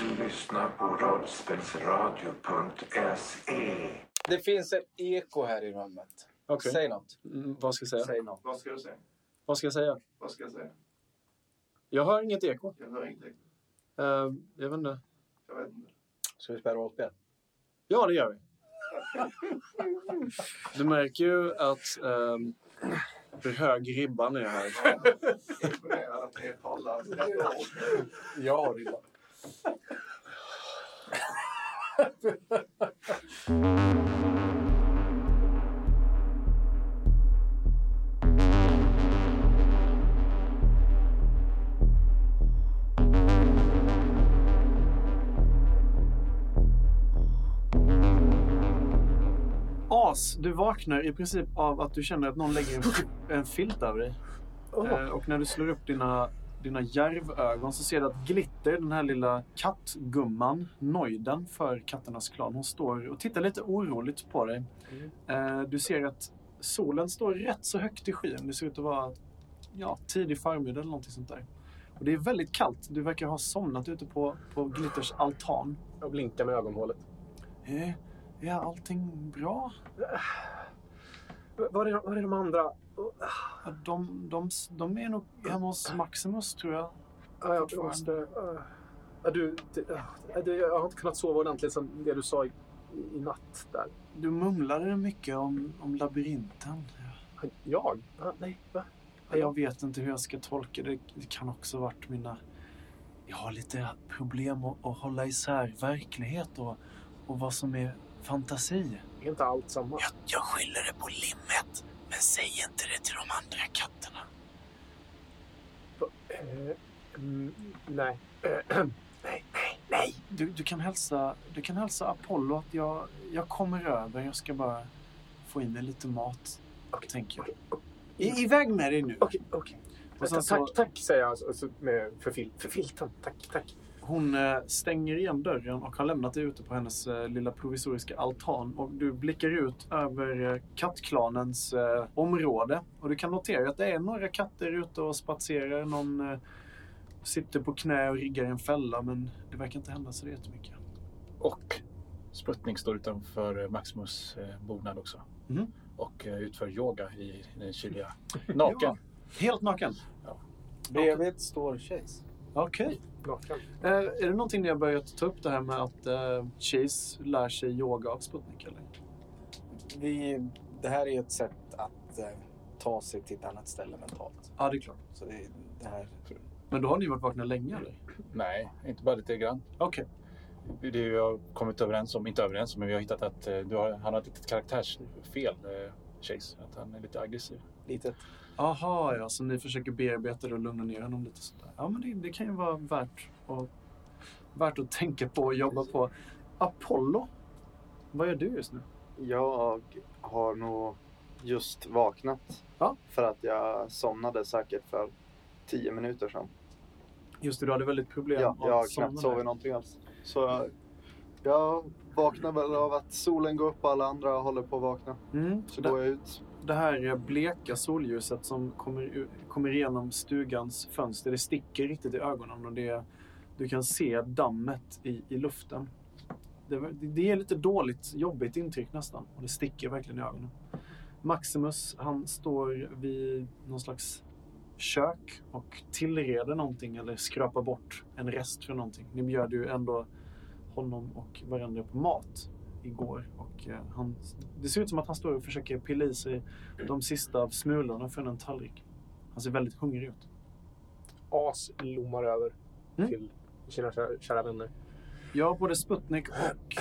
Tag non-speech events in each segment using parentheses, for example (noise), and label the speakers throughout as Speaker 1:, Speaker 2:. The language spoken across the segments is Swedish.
Speaker 1: lyssnar på rollspelsradio.se.
Speaker 2: Det finns ett eko här i rummet.
Speaker 3: Okej.
Speaker 2: Säg något.
Speaker 3: Mm, vad ska jag säga?
Speaker 2: Säg något.
Speaker 4: Vad ska jag säga?
Speaker 3: Vad ska jag säga?
Speaker 4: Vad ska jag säga?
Speaker 3: Jag hör inget eko.
Speaker 4: Jag hör inte.
Speaker 3: Eh, jag vet inte.
Speaker 4: Jag vet inte.
Speaker 2: Ska vi spela rollspel?
Speaker 3: Ja, det gör
Speaker 2: (laughs)
Speaker 3: vi. Du märker ju att ehm, hur hög ribban är här.
Speaker 4: Imponerad att ni talar rätt om.
Speaker 2: Jag har det.
Speaker 3: As, du vaknar i princip av att du känner att någon lägger en, fi- en filt över dig. Eh, och när du slår upp dina, dina järvögon så ser du att Glitter, den här lilla kattgumman, nojden för katternas klan, hon står och tittar lite oroligt på dig. Eh, du ser att solen står rätt så högt i skyn. Det ser ut att vara ja, tidig förmiddag eller någonting sånt där. Och det är väldigt kallt. Du verkar ha somnat ute på, på Glitters altan.
Speaker 5: Jag blinkar med ögonhålet.
Speaker 3: Eh, är allting bra?
Speaker 5: V- Var är, var är de andra? Ah,
Speaker 3: Ja, De, de, de är nog hemma hos Maximus, tror jag.
Speaker 5: Ja, jag
Speaker 3: Fortfarande.
Speaker 5: måste... eh, ja, du, det, ja, det, jag har inte kunnat sova ordentligt sedan det du sa i, i natt. där.
Speaker 3: Du mumlade mycket om, om labyrinten.
Speaker 5: Jag? Ah, nej, va?
Speaker 3: Ja, Jag vet inte hur jag ska tolka det. Det kan också ha varit mina... Jag har lite problem att, att hålla isär verklighet och, och vad som är fantasi.
Speaker 5: Är inte allt samma?
Speaker 3: Jag, jag skyller det på limmet, men säg inte det till de andra katterna.
Speaker 5: Eh, mm, nej. Eh,
Speaker 3: Du, du, kan, hälsa, du kan hälsa Apollo att jag, jag kommer över. Jag ska bara få in dig lite mat, tänker jag. I, iväg med dig nu!
Speaker 5: (clears throat) Okej, okej.
Speaker 3: Och sen
Speaker 5: tack,
Speaker 3: så,
Speaker 5: tack, säger jag så, så, med, för, fil, för filten. Tack, tack.
Speaker 3: hon eh, stänger igen dörren och har lämnat dig ute på hennes eh, lilla provisoriska altan. Och du blickar ut över eh, kattklanens eh, område. Och du kan notera att det är några katter ute och spatserar. Någon eh, sitter på knä och riggar en fälla, men det verkar inte hända så jättemycket.
Speaker 6: Och Sputnik står utanför Maximus eh, bonad också.
Speaker 3: Mhm.
Speaker 6: Och eh, utför yoga i, i den kyliga... (laughs) Naken.
Speaker 3: Helt naken?
Speaker 6: Ja.
Speaker 2: Bredvid står Chase.
Speaker 3: Okej.
Speaker 5: Naken.
Speaker 3: Eh, är det någonting ni har börjat ta upp det här med att eh, Chase lär sig yoga av Sputnik? Eller?
Speaker 2: Vi, det här är ju ett sätt att eh, ta sig till ett annat ställe mentalt.
Speaker 3: Ja, det är klart.
Speaker 2: Så det, det här...
Speaker 3: Men då har ni varit vakna länge eller?
Speaker 6: Nej, inte bara lite grann.
Speaker 3: Okej.
Speaker 6: Det är ju- jag har kommit överens om, inte överens om, men vi har hittat att eh, du har, han har ett litet karaktärsfel, eh, Chase. Att han är lite aggressiv.
Speaker 2: Litet.
Speaker 3: Aha, ja, så ni försöker bearbeta det och lugna ner honom lite sådär. Ja, men det, det kan ju vara värt att, värt att tänka på och jobba på. Apollo, vad gör du just nu?
Speaker 7: Jag har nog just vaknat.
Speaker 3: Ja.
Speaker 7: För att jag somnade säkert för tio minuter sedan.
Speaker 3: Just det, du hade väldigt problem
Speaker 7: Ja, jag har knappt sovit
Speaker 3: somna.
Speaker 7: någonting alls. Så jag, jag vaknar väl av att solen går upp och alla andra håller på att vakna.
Speaker 3: Mm,
Speaker 7: Så
Speaker 3: det-
Speaker 7: går jag ut.
Speaker 3: Det här eh, bleka solljuset som kommer, u- kommer igenom stugans fönster, det sticker riktigt i ögonen och det, du kan se dammet i, i luften. Det, var- det- det är lite dåligt, jobbigt intryck nästan och det sticker verkligen i ögonen. Maximus, han står vid någon slags kök och tillreder någonting eller skrapar bort en rest från någonting. Ni bjöd ju ändå honom och varandra på mat igår och eh, han, det ser ut som att han står och försöker pilla i sig de sista av smulorna från en tallrik. Han ser väldigt hungrig ut.
Speaker 5: As lommar över
Speaker 3: Mm.
Speaker 5: till sina kära, kära vänner.
Speaker 3: Ja, både Sputnik och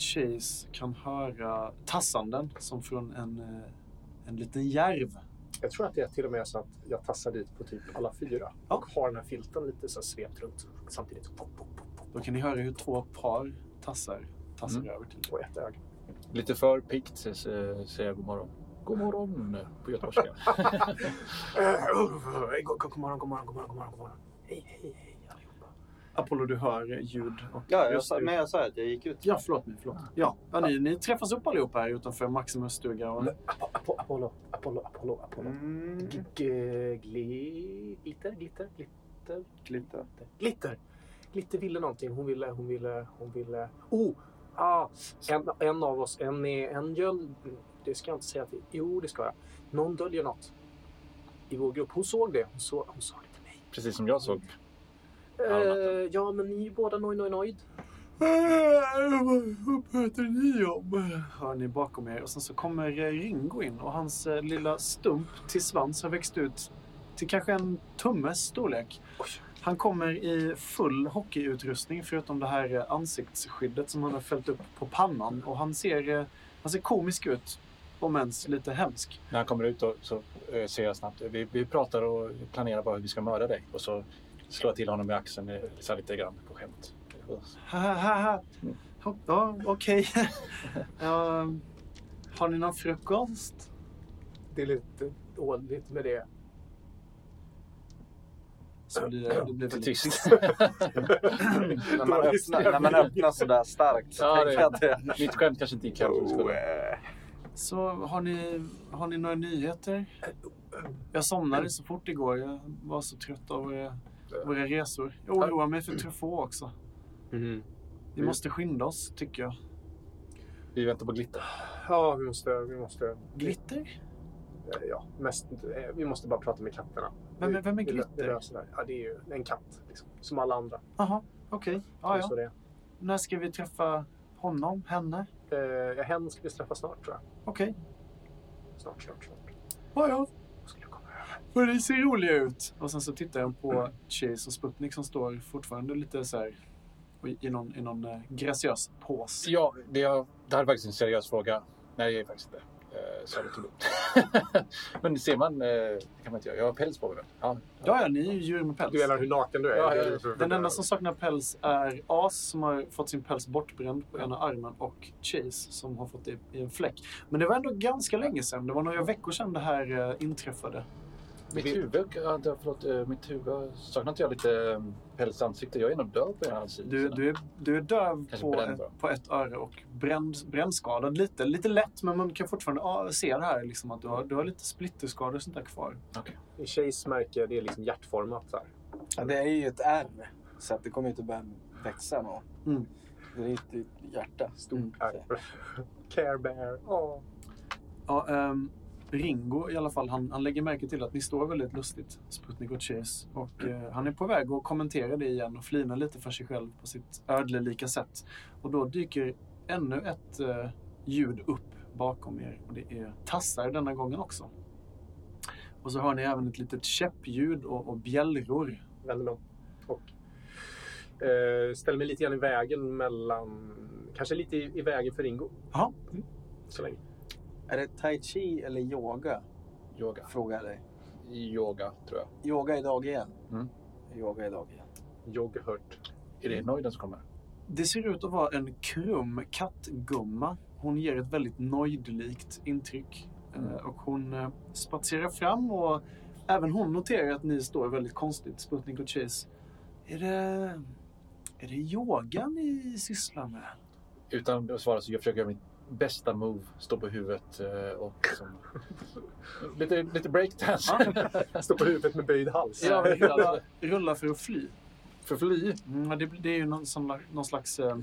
Speaker 3: Chase kan höra tassanden som från en, eh, en liten järv.
Speaker 5: Jag tror att det är till och med så att jag tassar dit på typ alla fyra
Speaker 3: Ja.
Speaker 5: och har den här filten lite så här svept runt samtidigt. Pop, pop, pop, pop,
Speaker 3: Då kan ni höra hur två par tassar tassar
Speaker 6: Mm.
Speaker 3: över till er.
Speaker 5: på ett öga.
Speaker 6: Lite för piggt så- så- säger jag god morgon. God morgon på
Speaker 7: (laughs)
Speaker 6: göteborgska.
Speaker 5: Eh, God god morgon, god morgon, god morgon, god morgon, god morgon. Hej, hej, hej allihopa.
Speaker 3: Apollo, du hör eh, ljud. Och
Speaker 7: Ja, jag
Speaker 3: Just
Speaker 7: sa,
Speaker 3: det.
Speaker 7: men jag sa att jag gick ut.
Speaker 3: Ja, förlåt mig. Förlåt. Ja, ja ni, ni träffas upp allihop här utanför Maximus stuga. Och...
Speaker 5: Apo- Apo- Apollo, Apollo, Apollo, Apollo.
Speaker 7: Mm,
Speaker 5: G- g- gli- Glitter, glitter, glitter,
Speaker 7: lite.
Speaker 5: glitter. Glitter ville någonting. Hon ville, hon ville, hon ville... Oh! Ah, en, en av oss, en är en göl... Det ska jag inte säga att vi... Jo, det ska jag. Någon döljer något i vår grupp. Hon såg det. Hon, så, hon sa det till mig.
Speaker 6: Precis som jag såg.
Speaker 5: Eh, ja, men ni är ju båda noj, noj, nöjd.
Speaker 3: Vad pratar ni om? Hör ni bakom er. Och sen så kommer eh, Ringo in och hans eh, lilla stump till svans har växt ut till kanske en tummes storlek. Han kommer i full hockeyutrustning förutom det här eh, ansiktsskyddet som han har fällt upp på pannan. Och han ser, eh, han ser komisk ut, om ens lite hemsk.
Speaker 6: När han kommer ut då, så eh, ser jag snabbt. Vi, vi pratar och planerar bara hur vi ska mörda dig. Och så slår jag till honom i axeln eh, så här lite grann på skämt. Och så-
Speaker 3: Ha, ha, ha, ha. Ja, Ja, okej. (laughs) Ja, har ni någon frukost?
Speaker 5: Det är lite dåligt med det.
Speaker 3: Så blir det, det blir
Speaker 6: Lite
Speaker 3: väldigt
Speaker 7: (laughs)
Speaker 6: tyst.
Speaker 7: När man, öppnar, när man öppnar sådär starkt så
Speaker 6: Ja,
Speaker 7: tänker
Speaker 6: det-
Speaker 7: jag att det...
Speaker 6: Mitt skämt kanske inte gick hem. som det skulle.
Speaker 7: Oh, eh,
Speaker 3: Så har ni, har ni några nyheter? Jag somnade så fort igår. Jag var så trött av våra, våra resor. Jag oroar mig för Truffaut också.
Speaker 5: Mhm.
Speaker 3: Vi måste skynda oss, tycker jag.
Speaker 6: Vi väntar på glitter.
Speaker 5: Ja, vi måste... Vi måste eh,
Speaker 3: Glitter?
Speaker 5: ja, mest, eh, vi måste bara prata med katterna.
Speaker 3: Vem, är- vem är
Speaker 5: Vi- vi lö- Vi
Speaker 3: Glitter?
Speaker 5: löser det här. Ja, det är ju en katt, liksom, som alla andra.
Speaker 3: Jaha, okej.
Speaker 5: Det
Speaker 3: Ja,
Speaker 5: är
Speaker 3: ja.
Speaker 5: Så det.
Speaker 3: När ska vi träffa honom, henne?
Speaker 5: är. Eh, hen ska vi träffa snart, tror jag.
Speaker 3: Okej.
Speaker 5: Snart, snart, snart.
Speaker 3: Ja, ja.
Speaker 5: Då Skulle jag komma.
Speaker 3: För ni ser roliga ut. Och sen så tittar jag på Chase och Sputnik som står fortfarande lite så här i i någon, i någon eh, graciös pås.
Speaker 6: Ja, det, har, det här är faktiskt en seriös fråga. Nej, det är faktiskt inte. Eh, Så jag lite dumt. (laughs) Men ser man, eh, det kan man inte göra. Jag har päls på mig. Ja,
Speaker 3: Ja, ja, ni är ju djur med päls.
Speaker 5: Du menar hur naken du är?
Speaker 6: Ja,
Speaker 5: Det är
Speaker 6: ja,
Speaker 5: ju för-
Speaker 3: Den enda som saknar päls är As som har fått sin päls bortbränd på ena armen och Chase som har fått det i en fläck. Men det var ändå ganska länge sedan. Det var några veckor sedan det här eh, inträffade.
Speaker 6: Mitt huvud, ja, det- förlåt, eh, mitt huvud. Saknar inte jag lite eh, päls i ansiktet? Jag är nog döv på ena halsen.
Speaker 3: Du, du, är, du är döv
Speaker 6: Kanske
Speaker 3: på,
Speaker 6: bränd
Speaker 3: ett-
Speaker 6: då.
Speaker 3: på ett öre och bränd, brännskadad lite. Lite lätt, men man kan fortfarande ah, se det här. Liksom, att du, har, du har lite splitterskador och sånt där kvar.
Speaker 5: I tjejs märke, det är liksom hjärtformat. Så här.
Speaker 2: Ja, det är ju ett R, så att det kommer inte börja växa något.
Speaker 3: Mm.
Speaker 2: Det är ju ett ett hjärta, stort.
Speaker 3: Mm.
Speaker 2: så här.
Speaker 5: Äh, (laughs) Care bear. Åh.
Speaker 3: Ja, ehm, Ringo i alla fall, han, han lägger märke till att ni står väldigt lustigt, Sputnik och Chase. Och eh, han är på väg att kommentera det igen och flina lite för sig själv på sitt ödlelika sätt. Och då dyker ännu ett eh, ljud upp bakom er och det är tassar denna gången också. Och så hör ni även ett litet käppljud och, och bjällror.
Speaker 5: vänder mig om och eh, ställer mig lite grann i vägen mellan... Kanske lite i, i vägen för Ringo.
Speaker 3: Ja.
Speaker 5: Mm. Så länge.
Speaker 2: Är det tai chi eller yoga?
Speaker 6: Yoga.
Speaker 2: Frågar jag dig.
Speaker 6: Yoga, tror jag.
Speaker 2: Yoga idag igen.
Speaker 6: Mm.
Speaker 2: Yoga idag igen.
Speaker 5: Yoghurt.
Speaker 6: Är det nöjden som kommer?
Speaker 3: Det ser ut att vara en krum kattgumma. Hon ger ett väldigt nojdlikt intryck. Eh, Och hon eh, spatserar fram och även hon noterar att ni står väldigt konstigt, Sputnik och Chase. Är det, är det yoga ni sysslar med?
Speaker 6: Utan att svara så jag försöker göra mitt bästa move. Stå på huvudet eh, och liksom...
Speaker 3: (laughs)
Speaker 6: lite, lite breakdance.
Speaker 5: (laughs) Står på huvudet med böjd hals.
Speaker 6: Ja, men
Speaker 3: rulla, rulla för att fly.
Speaker 6: (laughs) För fly.
Speaker 3: Mm, men det, det är ju någon, sån- någon slags... eh,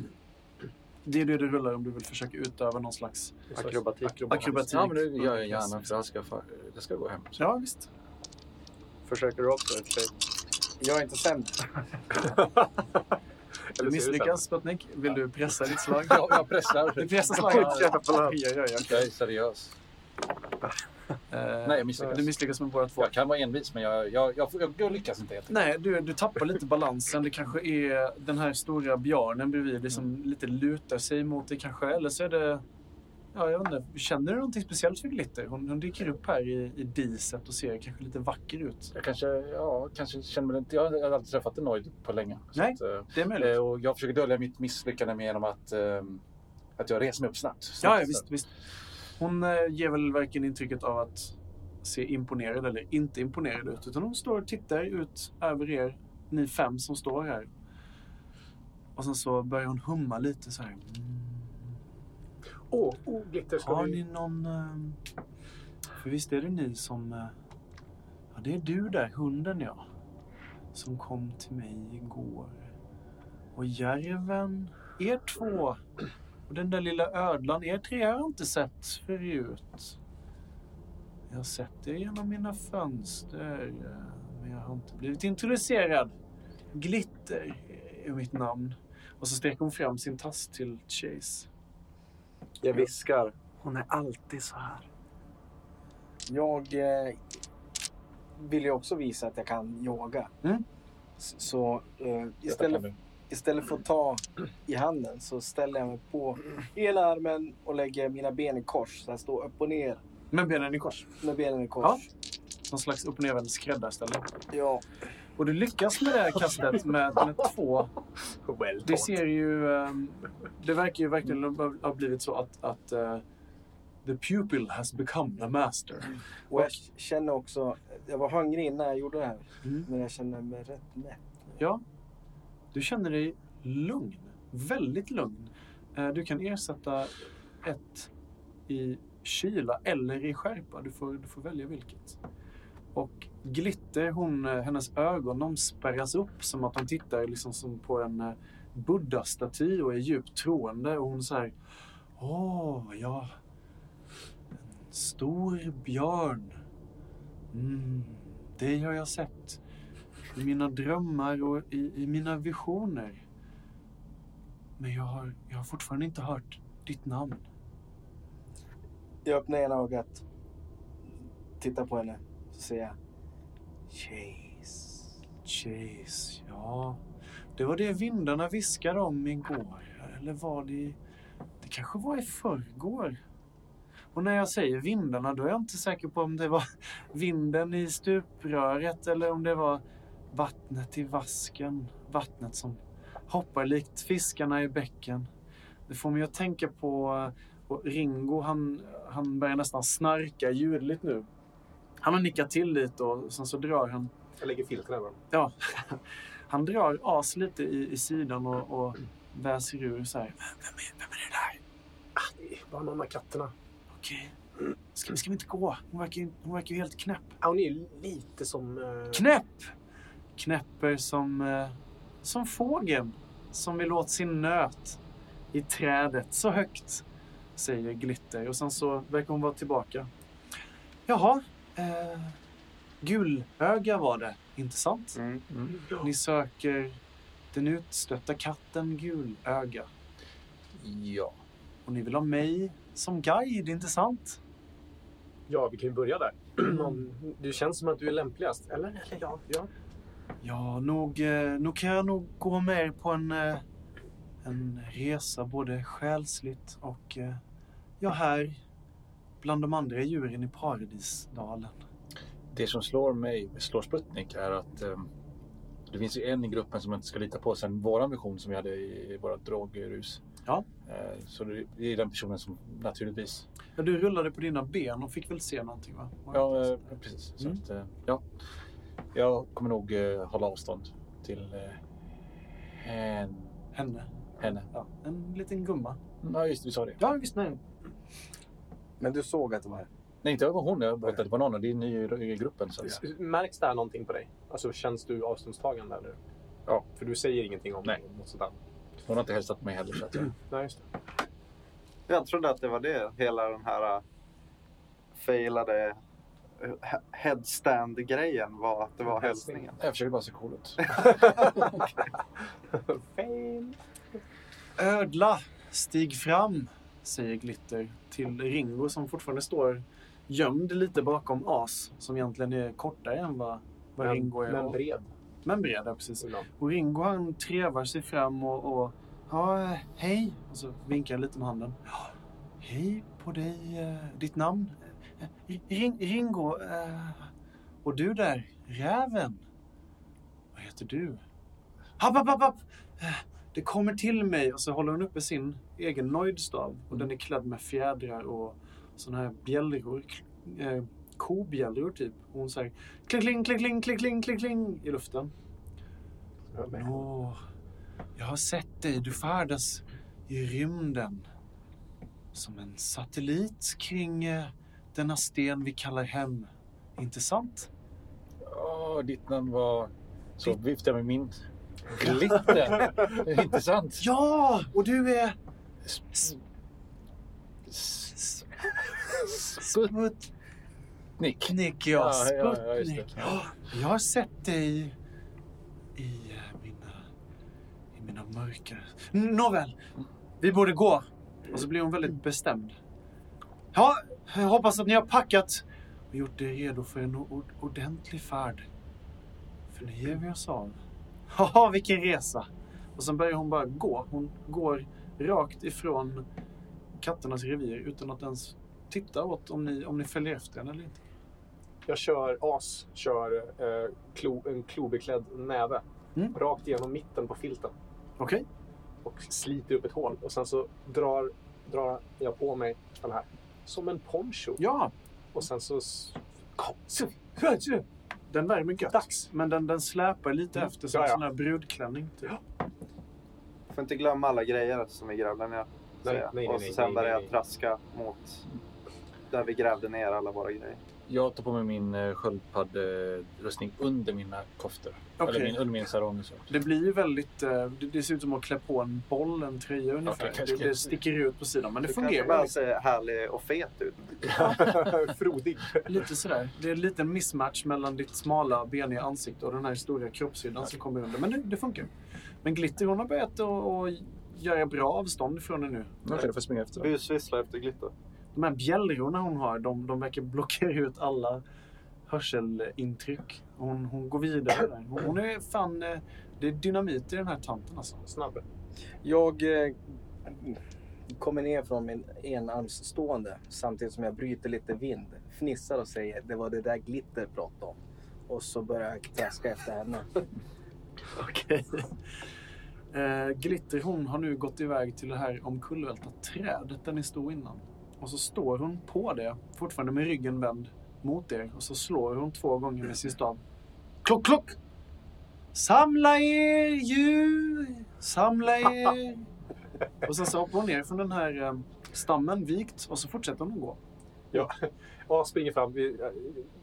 Speaker 3: Det är det du rullar om du vill försöka utöva någon slags...
Speaker 5: Akrobatik.
Speaker 3: Akrobatik.
Speaker 6: Ja, men det gör jag gärna. För det här ska, fa- det ska gå hem.
Speaker 3: Ja, visst.
Speaker 5: Försöker du också? i och för sig?
Speaker 2: Jag är inte sämre.
Speaker 6: (laughs)
Speaker 3: Du
Speaker 5: Eller så är det
Speaker 3: misslyckas, Sputnik. Vill du pressa ditt
Speaker 5: (laughs)
Speaker 3: slag?
Speaker 6: Jag, jag pressar.
Speaker 3: Det bästa slaget. Oj, oj, oj.
Speaker 6: Jag är seriös.
Speaker 3: Eh,
Speaker 6: Nej, jag misslyckas.
Speaker 3: Du misslyckas med båda två.
Speaker 6: Jag kan vara envis, men jag, jag, jag, jag, jag lyckas inte helt enkelt.
Speaker 3: Nej, du, du tappar lite balansen. Det kanske är den här stora björnen bredvid dig som lite lutar sig mot dig kanske. Eller så är det... Ja, jag undrar. Känner du någonting speciellt för Glitter? Hon, hon dyker upp här i, i diset och ser kanske lite vacker ut.
Speaker 6: Jag kanske, ja, kanske känner mig inte... Jag har aldrig träffat en nöjd på länge. Så
Speaker 3: Nej.
Speaker 6: Att, eh,
Speaker 3: Det är möjligt.
Speaker 6: eh, och jag försöker dölja mitt misslyckande med genom att, eh, att jag reser mig upp snabbt. snabbt
Speaker 3: Ja, ja visst, visst. Hon eh, ger väl verkligen intrycket av att se imponerad eller inte imponerad ut. Utan hon står och tittar ut över er, ni fem som står här. Och sen så börjar hon humma lite så här. Mm.
Speaker 5: Åh, oh, glitter ska
Speaker 3: Har ni
Speaker 5: vi...
Speaker 3: någon... ehm, För visst är det ni som... eh, Ja, det är du där, hunden ja. Som kom till mig igår. Och järven, er två. Och den där lilla ödlan, er tre har jag inte sett förut. Jag har sett er genom mina fönster, eh, men jag har inte blivit introducerad. Glitter är mitt namn. Och så sträcker hon fram sin tass till Chase.
Speaker 2: Jag viskar.
Speaker 3: Hon är alltid så här.
Speaker 2: Jag eh, vill ju också visa att jag kan yoga.
Speaker 3: Mm.
Speaker 2: S- Så eh,
Speaker 6: Detta kan
Speaker 2: istället,
Speaker 6: du.
Speaker 2: istället för att ta i handen så ställer jag mig på ena armen och lägger mina ben i kors. Så jag står upp och ner
Speaker 3: Men benen i kors.
Speaker 2: med benen i
Speaker 3: Ja.
Speaker 2: kors.
Speaker 3: Någon slags upp och nervänd skrädda istället.
Speaker 2: Ja.
Speaker 3: Och du lyckas med det här kastet med, med två.
Speaker 5: Well
Speaker 3: Det ser ju... ehm, Det verkar ju verkligen ha blivit så att, att eh, the pupil has become the master.
Speaker 2: Och jag känner också... Jag var hungrig innan jag gjorde det här.
Speaker 3: Mm.
Speaker 2: Men jag känner mig rätt mätt.
Speaker 3: Ja, du känner dig lugn. Väldigt lugn. Eh, Du kan ersätta ett i kyla eller i skärpa. Du får, du får välja vilket. Och Glitter, hon, eh, hennes ögon de spärras upp som att de tittar liksom som på en eh, buddha-staty och är djupt troende. Och hon säger Åh, ja. En stor björn. Mm, det har jag sett i mina drömmar och i, i mina visioner. Men jag har, jag har fortfarande inte hört ditt namn.
Speaker 2: Jag öppnar ena ögat. Tittar på henne. Så säger jag... Chase.
Speaker 3: Chase, ja. Det var det vindarna viskade om igår. Eller var det... i- Det kanske var i förrgår. Och när jag säger vindarna, då är jag inte säker på om det var (laughs) vinden i stupröret eller om det var vattnet i vasken. Vattnet som hoppar likt fiskarna i bäcken. Det får mig att tänka på... eh, Och Ringo, han, han börjar nästan snarka ljudligt nu. Han har nickat till lite och sen så drar han
Speaker 5: Jag lägger filten över dem.
Speaker 3: Ja. Han drar as lite i, i sidan och, och väser ur så här. "Vem- Vem är, vem är det där?
Speaker 5: Ah, det är bara någon av katterna.
Speaker 3: Okej. Ska, vi- ska vi inte gå? Hon verkar, ju- hon verkar ju helt knäpp.
Speaker 5: Ah, hon är ju lite som... eh,
Speaker 3: Knäpp! Knäpper som, eh, som fågeln som vill åt sin nöt i trädet så högt, säger Glitter. Och sen så verkar hon vara tillbaka. Jaha, eh, gulöga var det. Intressant. Ni söker den utstötta katten Gulöga.
Speaker 6: Ja.
Speaker 3: Och ni vill ha mig som guide, inte sant?
Speaker 5: Ja, vi kan ju börja där. (clears throat) Om, det känns som att du är lämpligast. Eller? eller ja, ja.
Speaker 3: Ja, nog, eh, nog kan jag nog gå med er på en, eh, en resa både själsligt och eh, ja, här bland de andra djuren i Paradisdalen.
Speaker 6: Det som slår mig, slår Sputnik, är att eh, det finns ju en i gruppen som man inte ska lita på sen våran vision som vi hade i våra drogrus.
Speaker 3: Ja.
Speaker 6: Eh, så det det är den personen som naturligtvis...
Speaker 3: Ja, du rullade på dina ben och fick väl se någonting va? Var det
Speaker 6: Ja,
Speaker 3: inte
Speaker 6: eh,
Speaker 3: så?
Speaker 6: precis.
Speaker 3: Mm.
Speaker 6: Så att, eh, ja. Jag kommer nog eh, hålla avstånd till eh, hen,
Speaker 3: Henne.
Speaker 6: henne.
Speaker 3: Ja, en liten gumma.
Speaker 6: Ja, just det, vi sa det.
Speaker 3: Ja, visst nej.
Speaker 2: Men du såg att det var...
Speaker 6: Nej, inte över hon. Jag berättade att det var någon och det är ny i- i gruppen. Så att,
Speaker 5: Märks där någonting på dig? Alltså, känns du avståndstagande nu?
Speaker 6: Ja.
Speaker 5: För du säger ingenting om
Speaker 6: Nej.
Speaker 5: något sådant.
Speaker 6: hon har inte hälsat mig heller. Så att,
Speaker 3: Mm.
Speaker 6: jag-
Speaker 5: Nej, just det.
Speaker 7: Jag trodde att det var det, hela den här äh, failade äh, he- headstand-grejen var att det var
Speaker 5: Hälsning. (laughs)
Speaker 7: hälsningen.
Speaker 6: jag försöker bara se cool ut.
Speaker 5: Fail.
Speaker 3: Ödla, stig fram, säger Glitter till Ringo som fortfarande står gömd lite bakom As som egentligen är kortare än vad, vad Ringo är.
Speaker 5: Men
Speaker 3: och-
Speaker 5: bred.
Speaker 3: men bred, ja, precis.
Speaker 5: ibland.
Speaker 3: Och Ringo han trevar sig fram och, och ja, eh, hej. Och så vinkar han lite med handen. Ja, hej på dig, eh, ditt namn? Eh, Ring, Ringo. eh, Och du där, räven. Vad heter du? Happ, happ, happ, happ. Eh, Det kommer till mig. Och så håller hon uppe sin egen nojdstav. Och den är klädd med fjädrar och sådana här bjällror. k- eh, Kobjällror typ. Och hon säger kling, kling, kling, kling, kling, kling, kling, kling i luften.
Speaker 5: Ja, men-
Speaker 3: Åh, jag har sett dig. Du färdas i rymden. Som en satellit kring eh, denna sten vi kallar hem. Inte sant? (laughs)
Speaker 6: Åh, ditt namn var... Så viftade jag med min Glitter! Det är Intressant.
Speaker 3: Ja, och du är...
Speaker 6: Sputnik.
Speaker 3: Nick, ja.
Speaker 6: Ja, ja, ja, just det.
Speaker 3: Sputnik. Ja, jag har sett dig i eh, mina, i mina mörker. N- Nåväl, vi borde gå. Och så blir hon väldigt bestämd. Ja, jag hoppas att ni har packat och gjort er redo för en o- ordentlig färd. För nu ger vi oss av. Haha, vilken resa! Och sen börjar hon bara gå. Hon går rakt ifrån katternas revir utan att ens titta åt om ni, om ni följer efter henne eller inte.
Speaker 5: Jag kör as, kör eh, klo, en klobeklädd näve
Speaker 3: Mm.
Speaker 5: rakt igenom mitten på filten
Speaker 3: Okej.
Speaker 5: och sliter upp ett hål. Och sen så drar, drar jag på mig den här som en poncho.
Speaker 3: Ja,
Speaker 5: Och sen så... s-
Speaker 3: den värmer gött.
Speaker 5: Dags!
Speaker 3: Men den, den släpar lite
Speaker 5: Mm.
Speaker 3: efter som
Speaker 5: Ja, ja.
Speaker 3: en sån här brudklänning. Typ.
Speaker 7: Får inte glömma alla grejer som vi grävde ner.
Speaker 5: Nej,
Speaker 7: säger jag.
Speaker 5: nej, nej,
Speaker 7: och
Speaker 5: nej,
Speaker 7: så sen
Speaker 5: nej,
Speaker 7: började
Speaker 5: nej,
Speaker 7: jag
Speaker 5: nej.
Speaker 7: traska mot där vi grävde ner alla våra grejer.
Speaker 6: Jag tar på mig min eh, sköldpaddrustning under mina koftor. Eller
Speaker 3: Okej.
Speaker 6: min, under min sarong. och så.
Speaker 3: Det blir ju väldigt... eh, Det, det ser ut som att klä på en boll, en tröja ungefär.
Speaker 6: kanske-
Speaker 3: det, det sticker ut på sidan, men det
Speaker 7: Du
Speaker 3: fungerar
Speaker 7: kanske bara
Speaker 3: liksom.
Speaker 7: ser härlig och fet ut.
Speaker 5: (laughs) Frodig.
Speaker 3: lite sådär. Det är en liten mismatch mellan ditt smala, beniga ansikte och den här stora kroppshyddan som kommer under. Men det, det funkar. Men Glitter, hon har börjat att att göra bra avstånd från dig nu.
Speaker 6: Okej, okay, jag får springa efter.
Speaker 7: Busvissla efter glitter.
Speaker 3: De här bjällrorna hon har, de, de verkar blockera ut alla hörselintryck. Hon, hon går vidare där. Hon, hon är fan... eh, Det är dynamit i den här tanten alltså.
Speaker 5: Snabb.
Speaker 2: Jag eh, kommer ner från min enarmsstående samtidigt som jag bryter lite vind. Fnissar och säger det var det där glitter pratade om. Och så börjar jag traska efter henne.
Speaker 3: (laughs) Okej. Eh, Glitter, hon har nu gått iväg till det här omkullvälta trädet där ni stod innan. Och så står hon på det, fortfarande med ryggen vänd mot er. Och så slår hon två gånger med sin stav. Klock, klock! Samla er djur! Samla er! Och sen så hoppar hon ner från den här eh, stammen vikt och så fortsätter hon att gå.
Speaker 5: Ja, springer fram. Vi,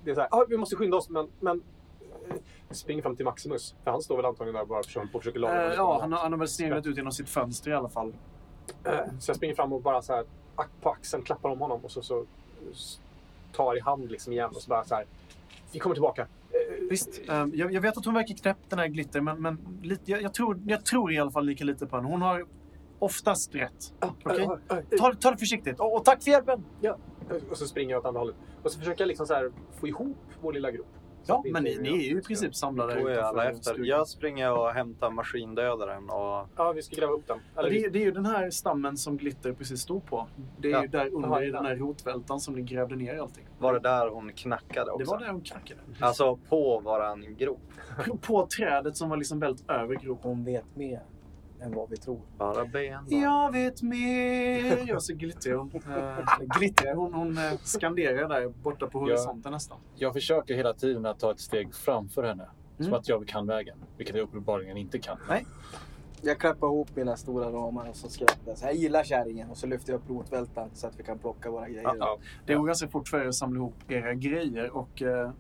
Speaker 5: det är så här, ah, vi måste skynda oss, men... men eh, springer fram till Maximus. För han står väl antagligen där bara för att försöka laga
Speaker 3: Eh,
Speaker 5: honom.
Speaker 3: ja, han har, han har väl sneglat ut genom sitt fönster i alla fall.
Speaker 5: Så jag springer fram och bara så här, ack- på axeln klappar om honom och så, så s- tar i hand liksom igen och så bara så här. Vi kommer tillbaka. Eh,
Speaker 3: Visst, ehm, jag, jag vet att hon verkar knäpp den här Glitter, men, men lite, jag, jag, tror, jag tror i alla fall lika lite på henne. Hon har oftast rätt. Okej?
Speaker 5: eh, eh,
Speaker 3: Ta, ta det försiktigt. Och, och tack för hjälpen!
Speaker 5: eh, Och så springer jag åt andra hållet. Och så försöker jag liksom så här få ihop vår lilla grupp. Så
Speaker 3: Ja,
Speaker 5: att vi
Speaker 3: men ni,
Speaker 5: inte-
Speaker 3: ni är ju i princip samlade
Speaker 7: Då är alla
Speaker 3: utanför
Speaker 7: efter.
Speaker 3: stugan.
Speaker 7: Jag springer och hämtar maskindödaren och
Speaker 5: Ja, vi ska gräva upp den.
Speaker 3: Ja,
Speaker 5: Eller,
Speaker 3: det, är- det är ju den här stammen som Glitter precis stod på. Det är
Speaker 7: Ja.
Speaker 3: ju där under
Speaker 5: Jaha,
Speaker 3: i
Speaker 5: ja.
Speaker 3: den här rotvältan som ni grävde ner allting.
Speaker 7: var det där hon knackade också?
Speaker 3: Det var där hon knackade.
Speaker 7: Alltså på våran grop.
Speaker 3: På trädet som var liksom väldigt över gropen.
Speaker 2: Hon vet mer än vad vi tror.
Speaker 7: Bara ben. bara.
Speaker 3: Jag vet mer. Jag ser glitter.
Speaker 7: (laughs)
Speaker 3: Hon, eh, glitter. hon, hon eh, skanderar där borta på horisonten nästan.
Speaker 6: Jag försöker hela tiden att ta ett steg framför henne. Som
Speaker 3: Mm.
Speaker 6: att jag kan vägen, vilket jag uppenbarligen inte kan.
Speaker 2: Jag klappar ihop mina stora ramar och så skrattar jag. Så här, Jag gillar kärringen och så lyfter jag upp rotvältan så att vi kan plocka våra grejer.
Speaker 3: Det går ganska fort för er att samla ihop era grejer och eh,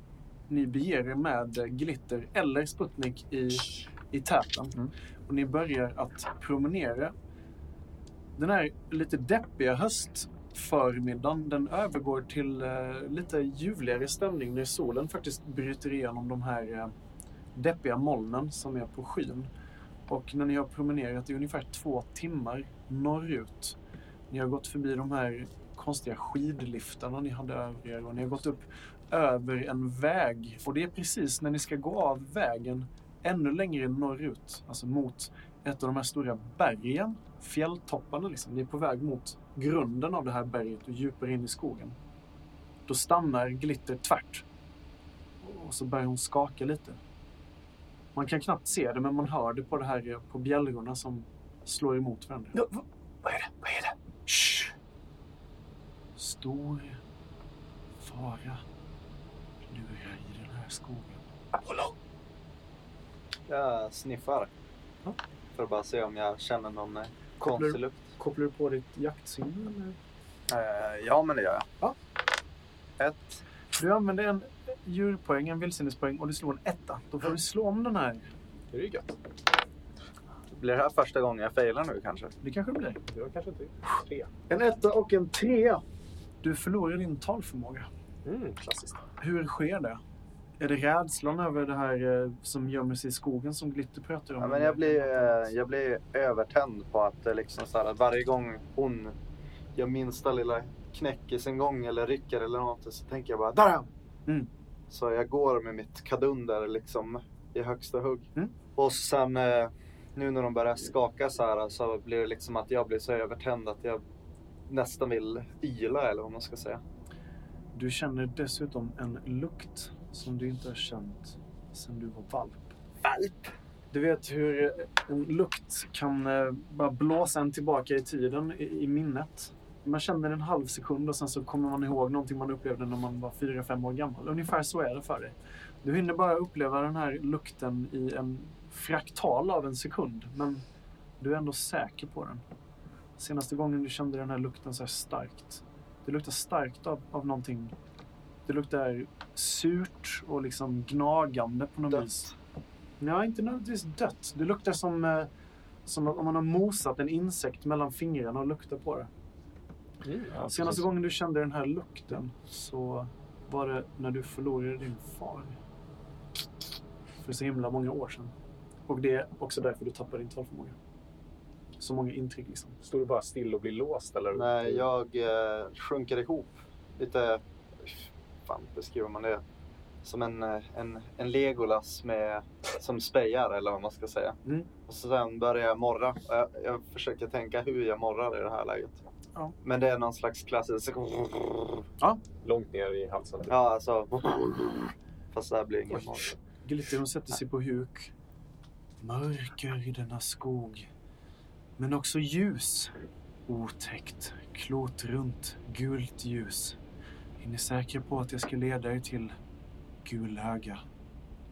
Speaker 3: ni beger er med eh, Glitter eller Sputnik i, i täten.
Speaker 6: Mm.
Speaker 3: Och ni börjar att promenera. Den här lite deppiga höstförmiddagen den övergår till eh, lite ljuvligare stämning när solen faktiskt bryter igenom de här eh, deppiga molnen som är på skyn. Och när ni har promenerat i ungefär två timmar norrut, ni har gått förbi de här konstiga skidliftarna ni hade över er och ni har gått upp över en väg och det är precis när ni ska gå av vägen ännu längre norrut, alltså mot ett av de här stora bergen, fjälltopparna liksom. Ni är på väg mot grunden av det här berget och djupare in i skogen. Då stannar Glitter tvärt och så börjar hon skaka lite. Man kan knappt se det, men man hör det på det här eh, på bjällrorna som slår emot varandra.
Speaker 5: Ja, va- vad är det? Vad är det?
Speaker 3: Shh. Stor fara lurar i den här skogen.
Speaker 5: Apollo!
Speaker 7: Jag sniffar.
Speaker 3: Ja.
Speaker 7: För att bara se om jag känner någon eh, konstig lukt.
Speaker 3: Kopplar du på ditt jaktsinne? eller?
Speaker 7: Eh, Ja, men det gör jag.
Speaker 3: Ja.
Speaker 7: Ett.
Speaker 3: Du använder en djurpoäng, en vildsinnespoäng och du slår en etta. Då får du slå om den här.
Speaker 5: Det är ju gött.
Speaker 7: Blir det här första gången jag failar nu kanske?
Speaker 3: Det kanske det blir.
Speaker 5: Det var kanske inte tre.
Speaker 3: En etta och en trea. Du förlorar din talförmåga.
Speaker 5: Mm, klassiskt.
Speaker 3: Hur sker det? Är det rädslan över det här eh, som gömmer sig i skogen som Glitter pratar om?
Speaker 7: Ja, men jag, blir, eh, jag blir övertänd på att det liksom så här, att varje gång hon gör minsta lilla knäck i sin gång eller rycker eller någonting så tänker jag bara där är han!"
Speaker 3: Mm.
Speaker 7: Så jag går med mitt kadunder liksom i högsta hugg.
Speaker 3: Mm.
Speaker 7: Och sen eh, nu när de börjar skaka så här så blir det liksom att jag blir så övertänd att jag nästan vill yla eller vad man ska säga.
Speaker 3: Du känner dessutom en lukt som du inte har känt sedan du var valp.
Speaker 7: Valp!
Speaker 3: Du vet hur eh, en lukt kan eh, bara blåsa en tillbaka i tiden, i, i minnet. Man känner en halv sekund och sen så kommer man ihåg någonting man upplevde när man var fyra fem år gammal. Ungefär så är det för dig. Du hinner bara uppleva den här lukten i en fraktal av en sekund, men du är ändå säker på den. Senaste gången du kände den här lukten så här starkt. Det luktar starkt av, av någonting. Det luktar surt och liksom gnagande på något
Speaker 7: Dött.
Speaker 3: vis. Nej, inte nödvändigtvis dött. Det luktar som, eh, som om man har mosat en insekt mellan fingrarna och luktar på det.
Speaker 6: Ja,
Speaker 3: Senaste
Speaker 6: precis.
Speaker 3: gången du kände den här lukten så var det när du förlorade din far. För så himla många år sedan. Och det är också därför du tappar din talförmåga. Så många intryck liksom.
Speaker 5: Står du bara still och blir låst? Eller?
Speaker 7: Nej, jag eh, sjunker ihop lite, fan beskriver man det? Som en, eh, en, en Legolas med, som spejar eller vad man ska säga.
Speaker 3: Mm.
Speaker 7: Och så sen börjar jag morra. Och Jag, jag försöker tänka hur jag morrar i det här läget.
Speaker 3: Ja.
Speaker 7: Men det är någon slags klassisk...
Speaker 5: Långt ner i halsen? typ.
Speaker 7: Ja, alltså... Fast det här blir ingen
Speaker 3: Oj.
Speaker 7: morr.
Speaker 3: Glitter hon sätter sig på huk. Mörker i denna skog. Men också ljus. Otäckt, klotrunt, gult ljus. Är ni säkra på att jag ska leda er till Gulöga?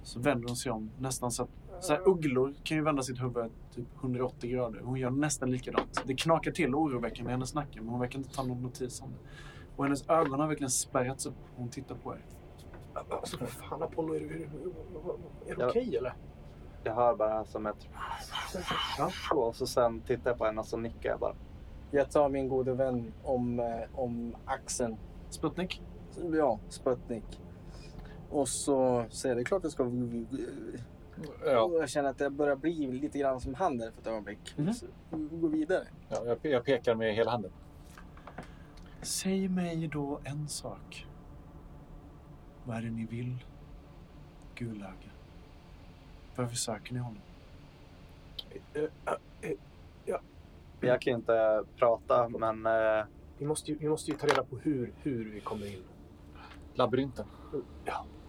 Speaker 3: Så vänder hon sig om, nästan så att... Så här, ugglor kan ju vända sitt huvud typ 180 grader. Hon gör nästan likadant. Det knakar till oroväckande i hennes nacke, men hon verkar inte ta någon notis om det. Och hennes ögon har verkligen spärrats upp. Hon tittar på er.
Speaker 5: Alltså, vad fan Apollo, är du, är du, är du
Speaker 7: Ja.
Speaker 5: okej eller?
Speaker 7: Jag hör bara som ett...
Speaker 3: Ja.
Speaker 7: Och så sen tittar jag på henne och så nickar jag bara.
Speaker 2: Jag tar min gode vän om, eh, om axeln.
Speaker 3: Sputnik?
Speaker 2: Ja, Sputnik. Och så säger jag, det är klart jag ska...
Speaker 6: Ja,
Speaker 2: Och Jag känner att jag börjar bli lite grann som han där för ett ögonblick.
Speaker 3: Mhm.
Speaker 2: Så, Gå vidare.
Speaker 6: ja, jag- jag pekar med hela handen.
Speaker 3: Säg mig då en sak. Vad är det ni vill, Gulöga? Varför söker ni honom?
Speaker 7: Jag kan ju inte prata men... Eh,
Speaker 5: Vi måste, ju, vi måste ju ta reda på hur, hur vi kommer in.
Speaker 6: Labyrinten.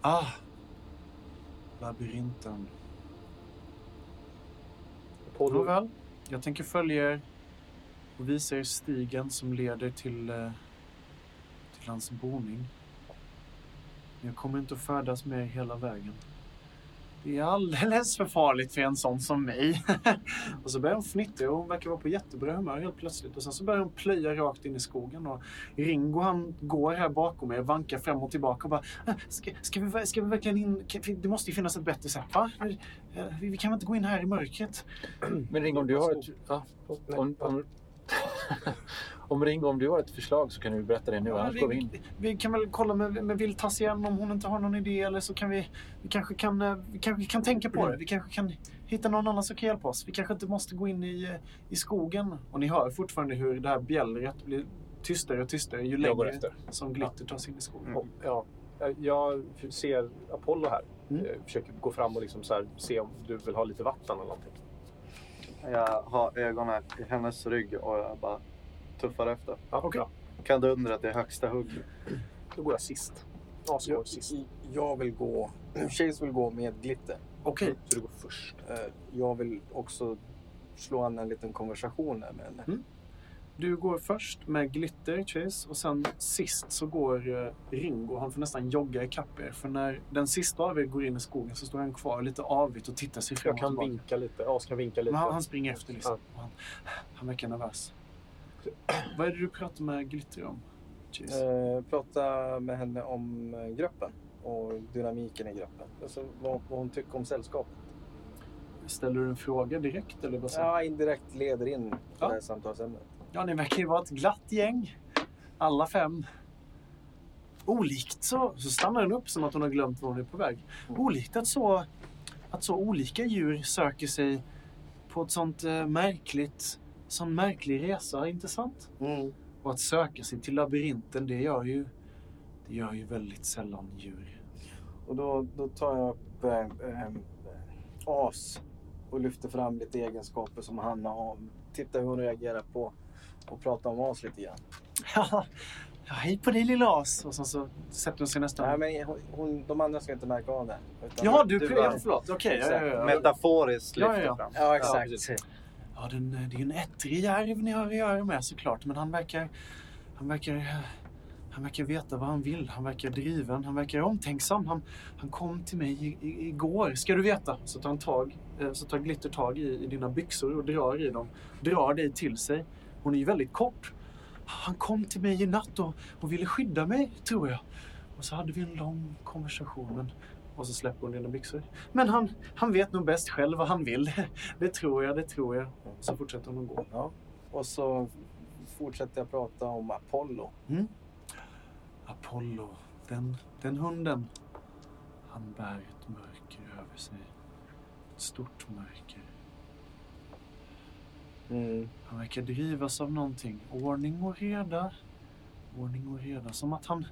Speaker 3: Ah! Labyrinten.
Speaker 5: Apollo,
Speaker 3: Nåväl, jag tänker följa er och visa er stigen som leder till, eh, till hans boning. Men Jag kommer inte att färdas med er hela vägen. Det är alldeles för farligt för en sån som mig. (laughs) och så börjar hon fnittra och hon verkar vara på jättebra humör helt plötsligt. Och sen så börjar hon plöja rakt in i skogen. Och Ringo han går här bakom er, vankar fram och tillbaka och bara "Ah, ska, ska, vi, ver- ska vi verkligen in? Kan- Det måste ju finnas ett bättre sätt va? Eh, Vi, vi kan väl inte gå in här i mörkret?
Speaker 6: Men Ringo, om du har ett... Ja, om, om, (laughs) om Ringo, om du har ett förslag så kan du berätta det nu,
Speaker 3: Ja, men
Speaker 6: annars går vi in.
Speaker 3: vi, vi kan väl kolla med, med Viltas igen om hon inte har någon idé eller så kan vi, vi kanske kan, eh, vi kanske kan tänka på det. Vi kanske kan hitta någon annan som kan hjälpa oss. Vi kanske inte måste gå in i, eh, i skogen. Och ni hör fortfarande hur det här bjällret blir tystare och tystare ju
Speaker 6: Jag går
Speaker 3: längre
Speaker 6: efter.
Speaker 3: som Glitter tar sig in i skogen.
Speaker 7: Mm.
Speaker 5: ja, Eh, jag ser Apollo här.
Speaker 3: Mm.
Speaker 5: Jag försöker gå fram och liksom så här, se om du vill ha lite vatten eller någonting.
Speaker 7: Jag har ögonen i hennes rygg och jag bara tuffar efter.
Speaker 5: Ja,
Speaker 3: Okej.
Speaker 5: bra.
Speaker 7: Kan du undra att det är högsta hugg?
Speaker 5: Då går jag sist. As går
Speaker 2: Jag,
Speaker 5: sist.
Speaker 2: jag vill gå... Chase vill gå med glitter.
Speaker 3: Okej,
Speaker 5: Så du går först.
Speaker 2: Eh, Jag vill också slå an en liten konversation här med henne.
Speaker 3: du går först med Glitter, Chase, och sen sist så går eh, Ringo. Han får nästan jogga ikapp er. För när den sista av er går in i skogen så står han kvar lite avigt och tittar sig fram
Speaker 5: Jag
Speaker 3: och
Speaker 5: kan
Speaker 3: tillbaka.
Speaker 5: vinka lite. As kan vinka lite.
Speaker 3: Men han, han springer efter liksom. Och Han, han verkar nervös. Vad är det du pratar med Glitter om? Cheese.
Speaker 2: Eh, prata med henne om eh, gruppen och dynamiken i gruppen. Alltså vad, vad hon tycker om sällskapet.
Speaker 3: Ställer du en fråga direkt eller vad säger du?
Speaker 2: Ja, indirekt leder in på
Speaker 3: Ja.
Speaker 2: det här samtalsämnet.
Speaker 3: Ja, ni verkar ju vara ett glatt gäng. Alla fem. Olikt så, så stannar hon upp som att hon har glömt var hon är på väg.
Speaker 2: Mm.
Speaker 3: Olikt att så, att så olika djur söker sig på ett sånt eh, märkligt, sån märklig resa, inte sant?
Speaker 2: Mm.
Speaker 3: Och att söka sig till labyrinten, det gör ju, det gör ju väldigt sällan djur.
Speaker 2: Och då, då tar jag upp eh, eh, As och lyfter fram lite egenskaper som han har. Tittar hur hon reagerar på och pratar om As lite grann.
Speaker 3: (laughs) ja, hej på dig lilla as! Och sen så sätter hon sig nästan...
Speaker 2: Nej, men hon, hon, de andra ska inte märka av det. utan-
Speaker 3: ja, du...
Speaker 7: du-
Speaker 3: ja, förlåt. Okej. ja, ja, ja.
Speaker 7: Metaforiskt
Speaker 3: Ja, ja,
Speaker 7: lyfter
Speaker 3: ja.
Speaker 7: fram.
Speaker 2: Ja,
Speaker 7: Ja,
Speaker 2: exakt.
Speaker 7: precis.
Speaker 3: Ja, den, det är ju en ettrig järv ni har att göra med såklart, men han verkar... Han verkar... Han verkar veta vad han vill. Han verkar driven. Han verkar omtänksam. Han, han kom till mig i, i, igår, ska du veta. Så tar, han tag, eh, så tar Glitter tag i, i dina byxor och drar i dem. Drar dig till sig. Hon är ju väldigt kort. Han kom till mig i natt och, och ville skydda mig, tror jag. Och så hade vi en lång konversation. Men, och så släpper hon dina byxor. Men han, han vet nog bäst själv vad han vill. Det tror jag, det tror jag. Så fortsätter hon att gå.
Speaker 2: Och så fortsätter jag prata om Apollo.
Speaker 3: Mm. Apollo, den, den hunden. Han bär ett mörker över sig. Ett stort mörker.
Speaker 2: Mm.
Speaker 3: Han verkar drivas av någonting. Ordning och reda. Ordning och reda. Som att han,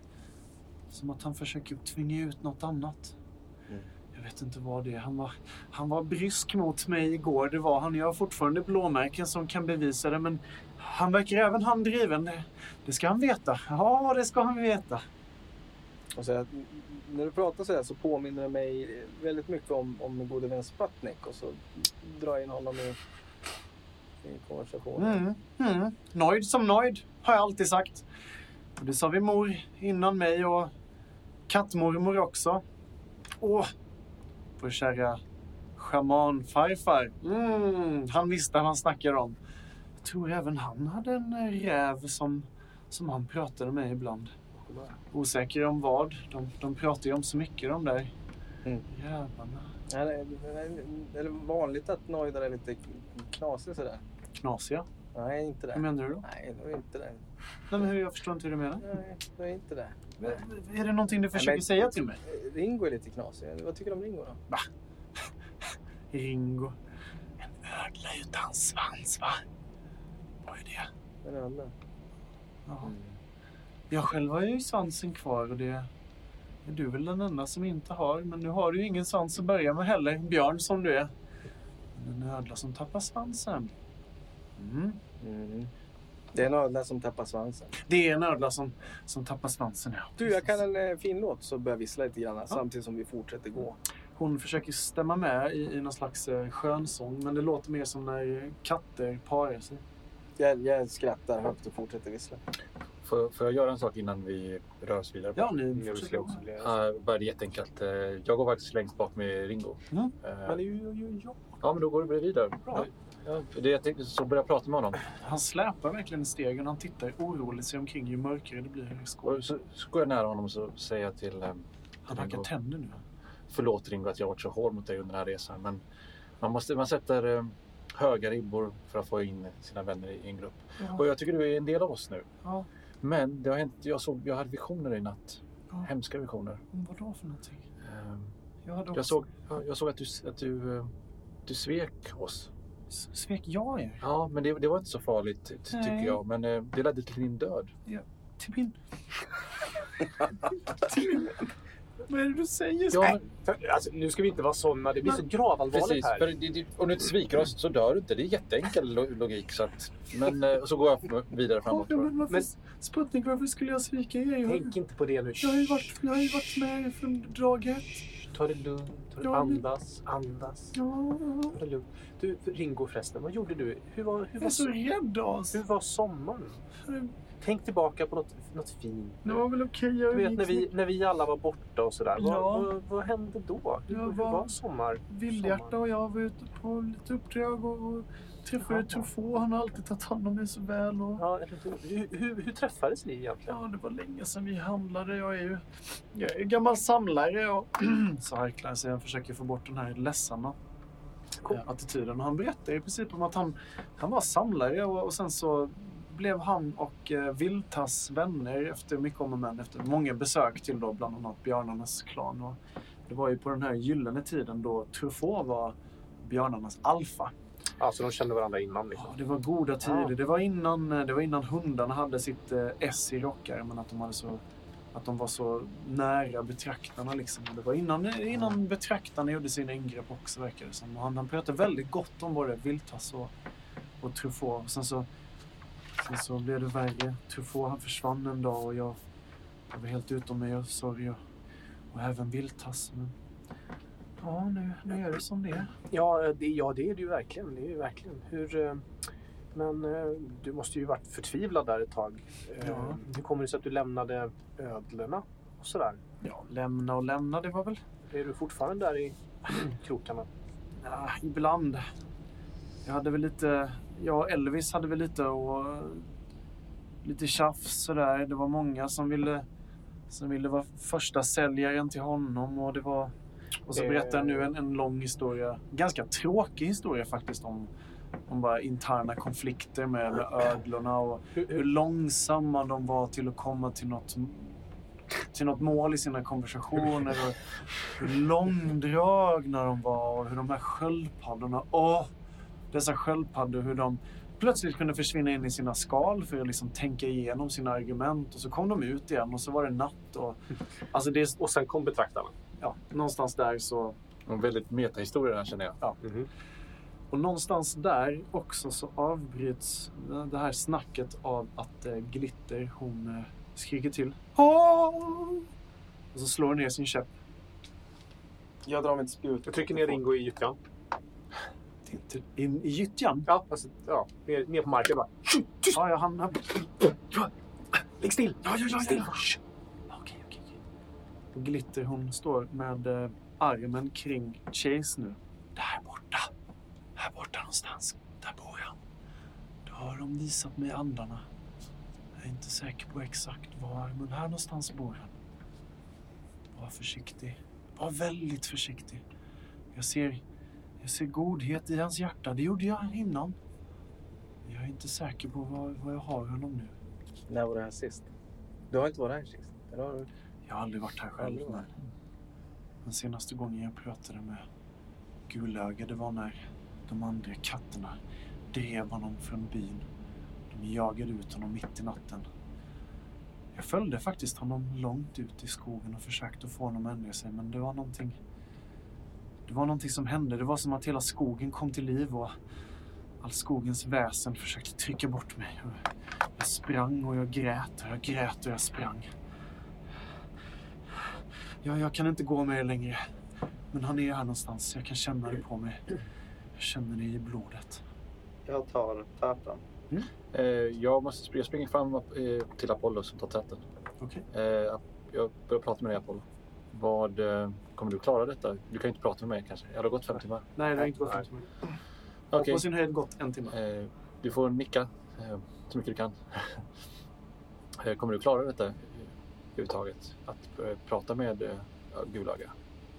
Speaker 3: som att han försöker tvinga ut något annat.
Speaker 2: Mm.
Speaker 3: Jag vet inte vad det är. Han var, han var brysk mot mig igår. Det var han. Jag har fortfarande blåmärken som kan bevisa det. Men han verkar även han driven. Det, det ska han veta. Ja, det ska han veta.
Speaker 2: Och så, när du pratar så här så påminner det mig väldigt mycket om, om min gode vän Sputnik. Och så drar jag in honom i, i konversationen.
Speaker 3: Mm, mm. Nöjd som nöjd, har jag alltid sagt. Och det sa vi mor innan mig och kattmormor också. Åh, vår kära schamanfarfar. Mm, han visste vad han snackade om. Jag tror även han hade en eh, räv som, som han pratade med ibland. Osäker om vad. De, de pratar ju om så mycket de där
Speaker 2: Mm.
Speaker 3: jävlarna.
Speaker 2: Ja, det- det- Är det vanligt att nojdar är lite knasig sådär?
Speaker 3: Knasiga.
Speaker 2: Nej, inte det.
Speaker 3: Vad menar du då?
Speaker 2: Nej, det är inte det.
Speaker 3: Nej, men hur, jag förstår inte hur du menar.
Speaker 2: Nej, det är inte det.
Speaker 3: Är det någonting du försöker
Speaker 2: men-
Speaker 3: säga till mig?
Speaker 2: Ringo är lite knasig. Vad tycker du om Ringo då?
Speaker 3: Ringo. En ödla utan svans, va? Vad är det?
Speaker 2: Den ödla?
Speaker 3: Ja.
Speaker 2: Mm.
Speaker 3: Jag själv har ju svansen kvar och det är du väl den enda som inte har. Men nu har du ju ingen svans att börja med heller, björn som du är. Men en ödla som tappar svansen. Mm.
Speaker 2: Mm. Det är en ödla som tappar svansen.
Speaker 3: Det är en ödla som, som tappar svansen, ja.
Speaker 2: Du, jag kan en eh, fin låt så börjar jag vissla lite grann samtidigt som vi fortsätter gå.
Speaker 3: Hon försöker stämma med i, i någon slags eh, skönsång, men det låter mer som när eh, katter parar sig.
Speaker 2: Jag, jag skrattar högt och fortsätter vissla.
Speaker 6: Får, får jag göra en sak innan vi rör oss vidare?
Speaker 3: Ja, ni
Speaker 6: Jag
Speaker 3: försöker.
Speaker 6: vill också Uh, bara det är jätteenkelt. Eh, jag går faktiskt längst bak med Ringo.
Speaker 3: Mm.
Speaker 6: Eh,
Speaker 3: Men ju, ju, ju.
Speaker 6: Ja, men då går du bredvid där.
Speaker 3: Bra.
Speaker 6: Ja, det jag tänkte, så började jag prata med honom.
Speaker 3: Han släpar verkligen i stegen. Han tittar oroligt sig omkring ju mörkare det blir här i skogen.
Speaker 6: Och så, så går jag nära honom och så säger jag till... ehm,
Speaker 3: Han hackar
Speaker 6: Ringo.
Speaker 3: tänder nu.
Speaker 6: Förlåt Ringo att jag varit så hård mot dig under den här resan. Men man, måste, man sätter ehm, höga ribbor för att få in sina vänner i i en grupp. Och
Speaker 3: Ja.
Speaker 6: jag tycker du är en del av oss nu.
Speaker 3: Ja.
Speaker 6: Men det har hänt, jag, såg, jag hade visioner i natt.
Speaker 3: Ja.
Speaker 6: Hemska visioner.
Speaker 3: Vadå för någonting?
Speaker 6: Ehm,
Speaker 3: Jag, hade också-
Speaker 6: jag, såg, ja, jag såg att du, att du, eh, du svek oss.
Speaker 3: S- Svek jag er?
Speaker 6: Ja, men det, det var inte så farligt ty- tycker
Speaker 3: Nej.
Speaker 6: jag. Men eh, det ledde till din död.
Speaker 3: Till
Speaker 5: (laughs)
Speaker 3: min... Till min- Vad är det du säger?
Speaker 6: Ja, men-
Speaker 5: För, alltså, nu ska vi inte vara såna. Det blir så gravallvarligt
Speaker 6: Precis,
Speaker 5: här.
Speaker 6: för det, det, om du inte sviker oss så dör du inte. Det är jätteenkel lo- logik. Så, att, men, eh, och så går jag vidare
Speaker 3: Ja,
Speaker 6: framåt.
Speaker 3: men varför,
Speaker 5: Men-
Speaker 3: Sputnik, varför skulle jag svika er? Jag,
Speaker 5: Tänk inte på det nu.
Speaker 3: jag, har, ju varit, jag har ju varit med er från dag ett.
Speaker 5: Shh, Ta det lugnt. Ta det,
Speaker 3: Ja, men-
Speaker 5: andas, andas.
Speaker 3: Ja,
Speaker 5: Ta det lugnt. Du, Ringo förresten. Vad gjorde du? Hur var, hur
Speaker 3: jag är
Speaker 5: var,
Speaker 3: så
Speaker 5: so-
Speaker 3: rädd alltså.
Speaker 5: hur var sommaren? Tänk tillbaka på något, något fint.
Speaker 3: Det var väl okej.
Speaker 5: Du
Speaker 3: jag
Speaker 5: vet
Speaker 3: gick
Speaker 5: när vi, när vi alla var borta och sådär.
Speaker 3: Ja.
Speaker 5: Vad, vad, vad hände då? Hur,
Speaker 3: Jag
Speaker 5: hur
Speaker 3: var-
Speaker 5: var sommar?
Speaker 3: Vildhjärta och jag var ute på lite uppdrag och och träffade
Speaker 5: Jaha.
Speaker 3: Truffaut. Han har alltid tagit hand om mig så väl. Och...
Speaker 5: Ja, eller hur, hur, hur, hur träffades ni egentligen?
Speaker 3: Ja, det var länge sedan vi handlade. Jag är ju jag (clears throat) är gammal samlare. Och... så harklar jag sig. Jag försöker få bort den här ledsamma
Speaker 5: Cool.
Speaker 3: eh, attityden. Och han berättar i princip om att han, han var samlare och, och sen så blev han och eh, Viltas vänner efter mycket om och men, efter många besök till då bland annat björnarnas klan. Och det var ju på den här gyllene tiden då Truffaut var björnarnas alfa.
Speaker 5: Alltså de kände varandra innan. Liksom.
Speaker 3: Ja, det var goda tider. Det var innan, eh, det var innan hundarna hade sitt eh, S i rockärmen. Att de, hade så, att de var så nära betraktarna. Liksom. Och Det var innan, innan betraktarna gjorde sina ingrepp också, verkar det som. Och han, han pratade väldigt gott om både Viltas och, och Truffaut. Och sen, så, sen så blev det värre. Truffaut han försvann en dag och jag, jag var helt utom mig av sorg. Och, och även Viltas. Men, ja, nu, nu är det som eh, det är.
Speaker 5: Ja, det, ja, det är det ju verkligen. Det är ju verkligen. Hur, eh, men eh, du måste ju varit förtvivlad där ett tag. Eh,
Speaker 3: Ja.
Speaker 5: Hur kommer det sig att du lämnade ödlorna och sådär?
Speaker 3: Ja, lämna och lämna, det var väl
Speaker 5: Är du fortfarande där i krokarna?
Speaker 3: Ja, Ah, ibland. Jag hade väl lite... Jag och Elvis hade väl lite och eh, Lite tjafs sådär. Det var många som ville, som ville vara första säljaren till honom och det var... Och så
Speaker 5: Eh.
Speaker 3: berättar jag nu en, en lång historia. Ganska tråkig historia faktiskt om, om bara interna konflikter med, med ödlorna och
Speaker 5: Hur,
Speaker 3: hur
Speaker 5: hur,
Speaker 3: långsamma de var till att komma till något, till något mål i sina konversationer. Och hur långdragna de var och hur de här sköldpaddorna... Åh! Dessa sköldpaddor, hur de plötsligt kunde försvinna in i sina skal för att liksom tänka igenom sina argument. Och så kom de ut igen och så var det natt. Och, alltså det är,
Speaker 5: och sen kom betraktarna.
Speaker 3: ja, någonstans där så...
Speaker 6: En väldigt metahistoria här känner jag.
Speaker 3: Och någonstans där också så avbryts det här snacket av att eh, Glitter, hon eh, skriker till. "Åh!" Och så slår hon ner sin käpp.
Speaker 2: Jag drar mitt spjut.
Speaker 5: Jag trycker ner Ringo i gyttjan.
Speaker 3: Inte In i gyttjan.
Speaker 5: Ja, alltså, ja, ner, ner på marken bara.
Speaker 3: Ja, ja, han... han
Speaker 5: Ligg still!
Speaker 3: ja, ja, ja,
Speaker 5: Still.
Speaker 3: ja. Shh. Okej, okej, okej. Och Glitter, hon står med eh, armen kring Chase nu. Där borta. Här borta någonstans. Där bor jag. Då har de visat mig andarna. Jag är inte säker på exakt var, men här någonstans bor han. Var försiktig. Var väldigt försiktig. Jag ser, jag ser godhet i hans hjärta. Det gjorde jag innan. Jag är inte säker på var, var jag har honom nu.
Speaker 2: När var det här sist? Du har inte varit här sist? Eller har du?
Speaker 3: Jag har aldrig varit här själv.
Speaker 2: Aldrig varit.
Speaker 3: Den senaste gången jag pratade med Gulöga, det var när de andra katterna drev honom från byn. De jagade ut honom mitt i natten. Jag följde faktiskt honom långt ut i skogen och försökte få honom att ändra sig, men det var någonting... Det var någonting som hände. Det var som att hela skogen kom till liv och all skogens väsen försökte trycka bort mig. Jag sprang och jag grät och jag grät och jag sprang. Ja, jag kan inte gå med er längre. Men han är här någonstans. Jag kan känna det på mig. Jag känner det i blodet.
Speaker 7: Jag tar täten.
Speaker 6: Eh, Jag, måste, jag springer fram eh, till Apollo som tar täten.
Speaker 3: Okej.
Speaker 6: Eh, Jag börjar prata med dig Apollo. Vad, eh, kommer du klara detta? Du kan ju inte prata med mig kanske. Jag har gått fem timmar.
Speaker 3: Nej, det har inte gått
Speaker 5: Nej.
Speaker 3: en timme. Jag har
Speaker 6: Okej,
Speaker 3: På sin höjd gått en timme.
Speaker 6: eh, du får nicka eh, så mycket du kan. (laughs) Eh, kommer du klara detta eh, överhuvudtaget? Att eh, prata med eh, Gulaga?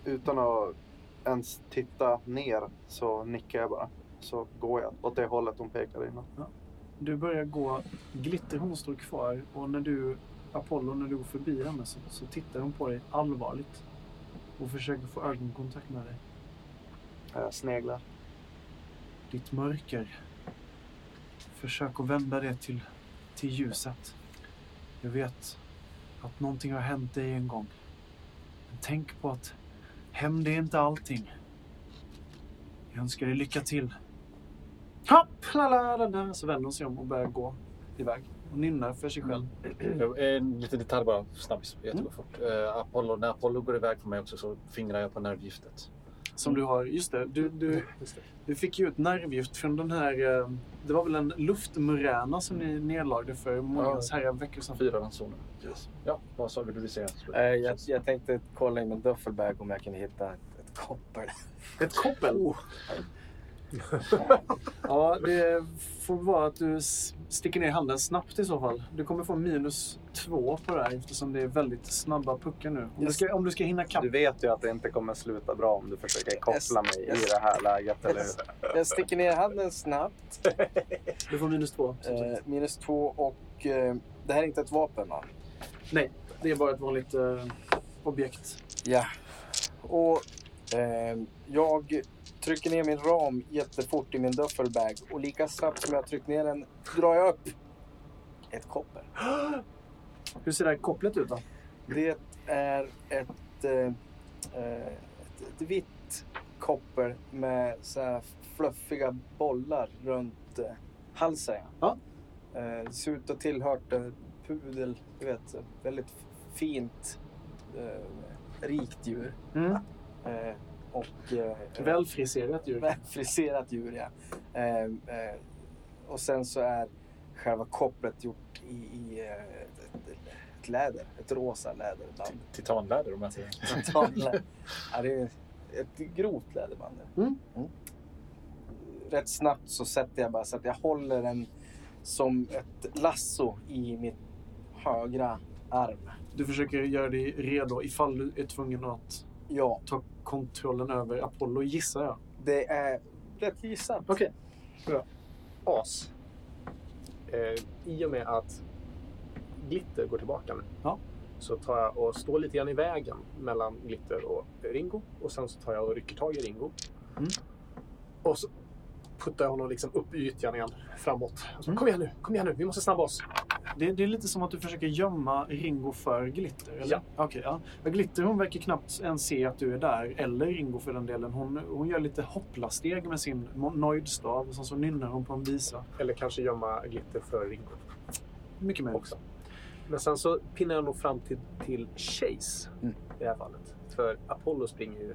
Speaker 7: Utan att ens titta ner så nickar jag bara. Så går jag åt det hållet hon pekade innan.
Speaker 3: Du börjar gå. Glitter hon står kvar och när du, Apollo, när du går förbi henne så, så tittar hon på dig allvarligt. Och försöker få ögonkontakt med dig.
Speaker 7: Jag sneglar.
Speaker 3: Ditt mörker. Försök att vända det till, till ljuset. Jag vet att någonting har hänt dig en gång. Men tänk på att hämnd är inte allting. Jag önskar dig lycka till. Hopp, la, la, la, la. Så vänder hon sig om och börjar gå iväg. Och nynnar för sig själv.
Speaker 6: Eh, En liten detalj bara, snabbis. Jättegå fort. Eh, Apollo, när Apollo går iväg från mig också så fingrar jag på nervgiftet.
Speaker 3: Som du har, just det, du, du, du fick ju ut nervgift från den här, eh, det var väl en luftmuräna som ni nedlagde för många
Speaker 6: Ja.
Speaker 3: herrar veckor sedan.
Speaker 6: Fyra ransoner. Yes. Ja, vad sa vill du säga?
Speaker 2: Eh, jag, jag tänkte (laughs) kolla i min duffelbag om jag kunde hitta ett, ett koppel.
Speaker 3: Ett koppel? (laughs) Ja, det får vara att du s- sticker ner handen snabbt i så fall. Du kommer få minus två på det här eftersom det är väldigt snabba puckar nu. Om, du,
Speaker 2: Yes.
Speaker 3: ska, om du ska hinna kapp.
Speaker 7: Du vet ju att det inte kommer sluta bra om du försöker koppla mig i det här läget, eller hur?
Speaker 2: Jag sticker ner handen snabbt.
Speaker 3: Du får minus två. som
Speaker 2: Eh,
Speaker 3: sagt.
Speaker 2: minus två och... Eh, det här är inte ett vapen va?
Speaker 3: Det är bara ett vanligt eh, objekt.
Speaker 2: Ja. Och eh, jag trycker ner min ram jättefort i min duffelbag och lika snabbt som jag trycker ner den drar jag upp ett koppel.
Speaker 3: Hur ser det här kopplet ut då?
Speaker 5: Eh.
Speaker 2: Det är ett, eh, eh, ett, ett vitt koppel med så här fluffiga bollar runt eh, halsen.
Speaker 3: Ja.
Speaker 2: Eh, det ser ut att ha tillhört en pudel, du vet, väldigt fint, eh, rikt djur.
Speaker 3: Mm.
Speaker 2: Eh, och eh,
Speaker 3: Välfriserat djur.
Speaker 2: välfriserat djur. Ja. Eh, eh, och sen så är själva kopplet gjort i, i eh, ett, ett, ett läder, ett rosa (laughs) läderband.
Speaker 6: Titanläder om jag säger.
Speaker 2: Titanlä- ja, det är ett grovt läderband.
Speaker 3: Mm.
Speaker 2: Rätt snabbt så sätter jag bara så att jag håller den som ett lasso i mitt högra arm.
Speaker 3: Du försöker göra dig redo ifall du är tvungen att
Speaker 2: Ja,
Speaker 3: ta kontrollen över Apollo, gissar jag.
Speaker 2: det är rätt gissat.
Speaker 3: Okej.
Speaker 5: As. Eh, I och med att Glitter går tillbaka nu
Speaker 3: Ja.
Speaker 5: så tar jag och står lite grann i vägen mellan Glitter och Ringo. Och sen så tar jag och rycker tag i Ringo.
Speaker 3: Mm.
Speaker 5: Och så puttar jag honom liksom upp i ytan igen, framåt. Och Så,
Speaker 3: Mm.
Speaker 5: Kom igen nu, kom igen nu, vi måste snabba oss.
Speaker 3: Det, det är lite som att du försöker gömma Ringo för Glitter, eller?
Speaker 5: Ja.
Speaker 3: Okej, ja. ja. Glitter hon verkar knappt ens se att du är där, eller Ringo för den delen. Hon, hon gör lite hoppla-steg med sin mo- nöjdstav och sen så nynnar hon på en visa.
Speaker 5: Eller kanske gömma Glitter för Ringo
Speaker 3: Mycket mer.
Speaker 5: också. Men sen så pinnar jag nog fram till, till Chase
Speaker 2: Mm.
Speaker 5: i det här fallet. För Apollo springer ju,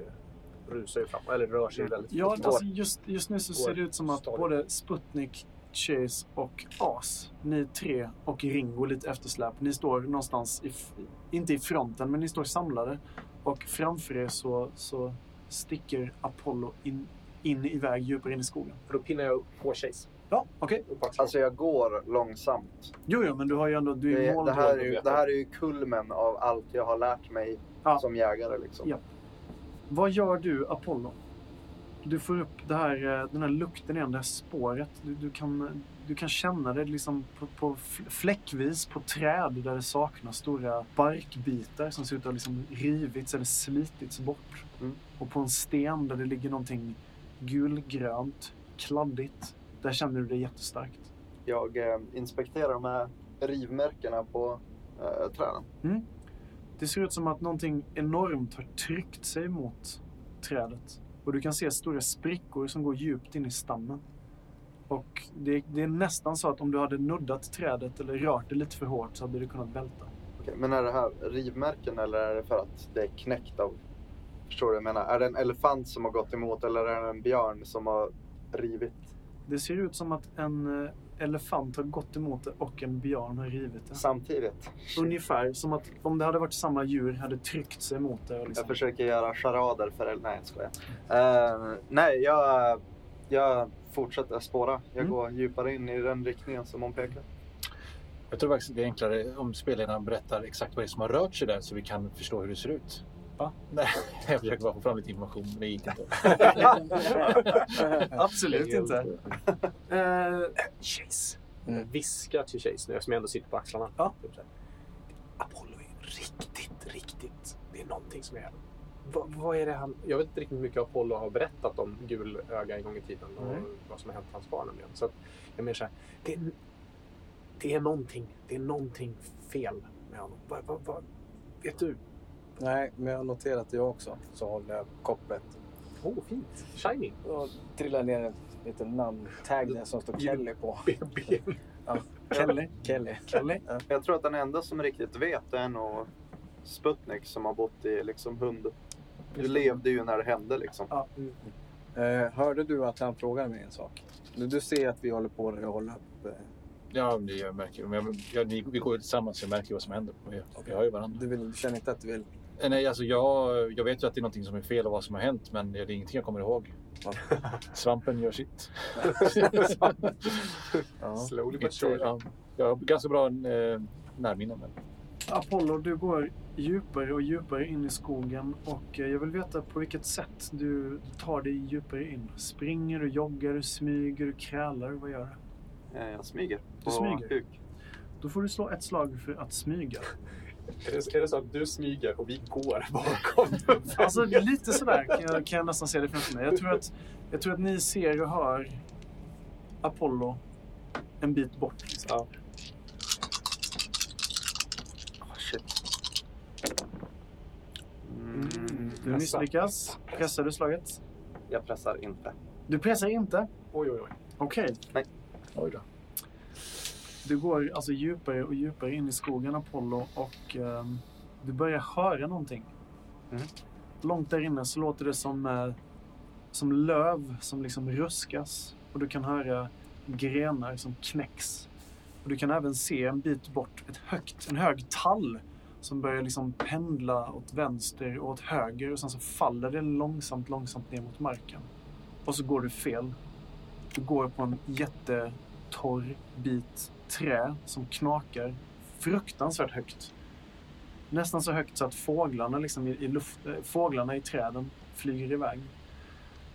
Speaker 5: rusar ju fram, eller rör sig väldigt
Speaker 3: Ja,
Speaker 5: fort.
Speaker 3: alltså just, just nu så ser det ut som att
Speaker 5: Stadig.
Speaker 3: både Sputnik, Chase och As, ni tre och Ringo lite eftersläp. Ni står någonstans, i, f- inte i fronten, men ni står samlade. Och framför er så, så sticker Apollo in, in iväg djupare in i skogen.
Speaker 5: För då pinnar jag upp på Chase.
Speaker 3: Ja, okej.
Speaker 5: Och bara-
Speaker 7: Alltså, jag går långsamt.
Speaker 3: Jo, jo, men du har ju ändå... Du är ju
Speaker 7: Det,
Speaker 3: mål
Speaker 7: det, här är ju,
Speaker 3: då.
Speaker 7: det här är ju kulmen av allt jag har lärt mig
Speaker 3: Ja.
Speaker 7: som jägare. Liksom.
Speaker 3: Ja. Vad gör du, Apollo? Du får upp det här, eh, den här lukten igen, det här spåret. Du, du, kan, du kan känna det liksom på, på fl- fläckvis på träd där det saknas stora barkbitar som ser ut att ha liksom rivits eller slitits bort.
Speaker 7: Mm.
Speaker 3: Och på en sten där det ligger någonting gulgrönt, kladdigt. Där känner du det jättestarkt.
Speaker 7: Jag eh, inspekterar de här rivmärkena på eh, träden.
Speaker 3: Det ser ut som att någonting enormt har tryckt sig mot trädet. Och du kan se stora sprickor som går djupt in i stammen. Och det, det är nästan så att om du hade nuddat trädet eller rört det lite för hårt så hade det kunnat välta.
Speaker 7: Okej, men är det här rivmärken eller är det för att det är knäckt av... Förstår du vad jag menar? Är det en elefant som har gått emot eller är det en björn som har rivit?
Speaker 3: Det ser ut som att en eh, elefant har gått emot det och en björn har rivit det.
Speaker 7: Samtidigt.
Speaker 3: Ungefär som att om det hade varit samma djur hade tryckt sig mot det. Och liksom.
Speaker 7: Jag försöker göra charader för... Nej, jag skojar. Eh, nej, jag, jag fortsätter spåra. Jag
Speaker 3: Mm.
Speaker 7: går djupare in i den riktningen som hon pekar.
Speaker 6: Jag tror faktiskt det är enklare om spelledaren berättar exakt vad det är som har rört sig där så vi kan förstå hur det ser ut.
Speaker 3: Va?
Speaker 6: (laughs) Nej, jag försöker bara få fram lite information, men det gick (laughs) inte.
Speaker 3: Absolut inte. (laughs) Eh,
Speaker 5: Chase.
Speaker 2: Mm.
Speaker 5: Viska till Chase nu eftersom jag ändå sitter på axlarna.
Speaker 3: Ja.
Speaker 5: Typ så här. Apollo är riktigt, riktigt... Det är någonting som är... Va, vad är det han... Jag vet inte riktigt hur mycket Apollo har berättat om gul öga en gång i tiden och
Speaker 3: Nej.
Speaker 5: vad som har hänt hans barn. nämligen. Så att, jag menar så här, det, är, det är någonting. Det är någonting fel med honom. Vad, vad, vad, vet du?
Speaker 2: Nej, men jag har noterat det också. Så håller jag kopplet.
Speaker 5: Åh, oh, fint. Shiny.
Speaker 2: Och trillar ner en liten namntag där som står Kelly på.
Speaker 5: BB.
Speaker 3: Kelly.
Speaker 2: Kelly.
Speaker 3: Kelly.
Speaker 7: Jag tror att den enda som riktigt vet är nog Sputnik som har bott i liksom hund. Du levde ju när det hände liksom.
Speaker 3: Ja.
Speaker 2: Eh, hörde du att han frågade mig en sak? Du, du ser att vi håller på att hålla upp. Eh,
Speaker 6: Ja, men det jag märker men jag. jag vi, vi går ju tillsammans, jag märker ju vad som händer. Vi, vi har ju varandra.
Speaker 2: du, vill, du känner inte att du vill
Speaker 6: Eh, Nej, alltså jag, jag vet ju att det är någonting som är fel och vad som har hänt, men det är ingenting jag kommer ihåg. Svampen gör sitt. ja.
Speaker 5: Slowly but
Speaker 6: Inte,
Speaker 5: surely.
Speaker 6: ja. Jag har ganska bra eh, närminne. Men...
Speaker 3: Apollo, du går djupare och djupare in i skogen och eh, jag vill veta på vilket sätt du tar dig djupare in. Springer du, joggar du, smyger du, krälar? Vad gör du?
Speaker 7: Eh, Jag smyger. på
Speaker 3: smyger?
Speaker 7: huk.
Speaker 3: Då får du slå ett slag för att smyga.
Speaker 5: (laughs) Är det, är det så att du smyger och vi går bakom?
Speaker 3: Alltså lite sådär kan jag, kan jag nästan se det framför mig. Jag tror, att, jag tror att ni ser och hör Apollo en bit bort. liksom.
Speaker 5: Ja.
Speaker 3: Ah,
Speaker 7: Åh, shit.
Speaker 3: Mm.
Speaker 7: Mm.
Speaker 3: Du misslyckas. Pressar du slaget?
Speaker 7: Jag pressar inte.
Speaker 3: Du pressar inte?
Speaker 5: Oj, oj, oj.
Speaker 3: Okej.
Speaker 6: Oj då.
Speaker 3: Du går alltså djupare och djupare in i skogen, Apollo, och ehm, du börjar höra någonting.
Speaker 7: Mm.
Speaker 3: Långt där inne så låter det som, eh, som löv som liksom ruskas. Och du kan höra grenar som knäcks. Och du kan även se en bit bort ett högt, en hög tall som börjar liksom pendla åt vänster och åt höger och sen så faller det långsamt, långsamt ner mot marken. Och så går du fel. Du går på en jätte torr bit trä som knakar fruktansvärt högt. Nästan så högt så att fåglarna, liksom i, i luft, eh, fåglarna i träden flyger iväg.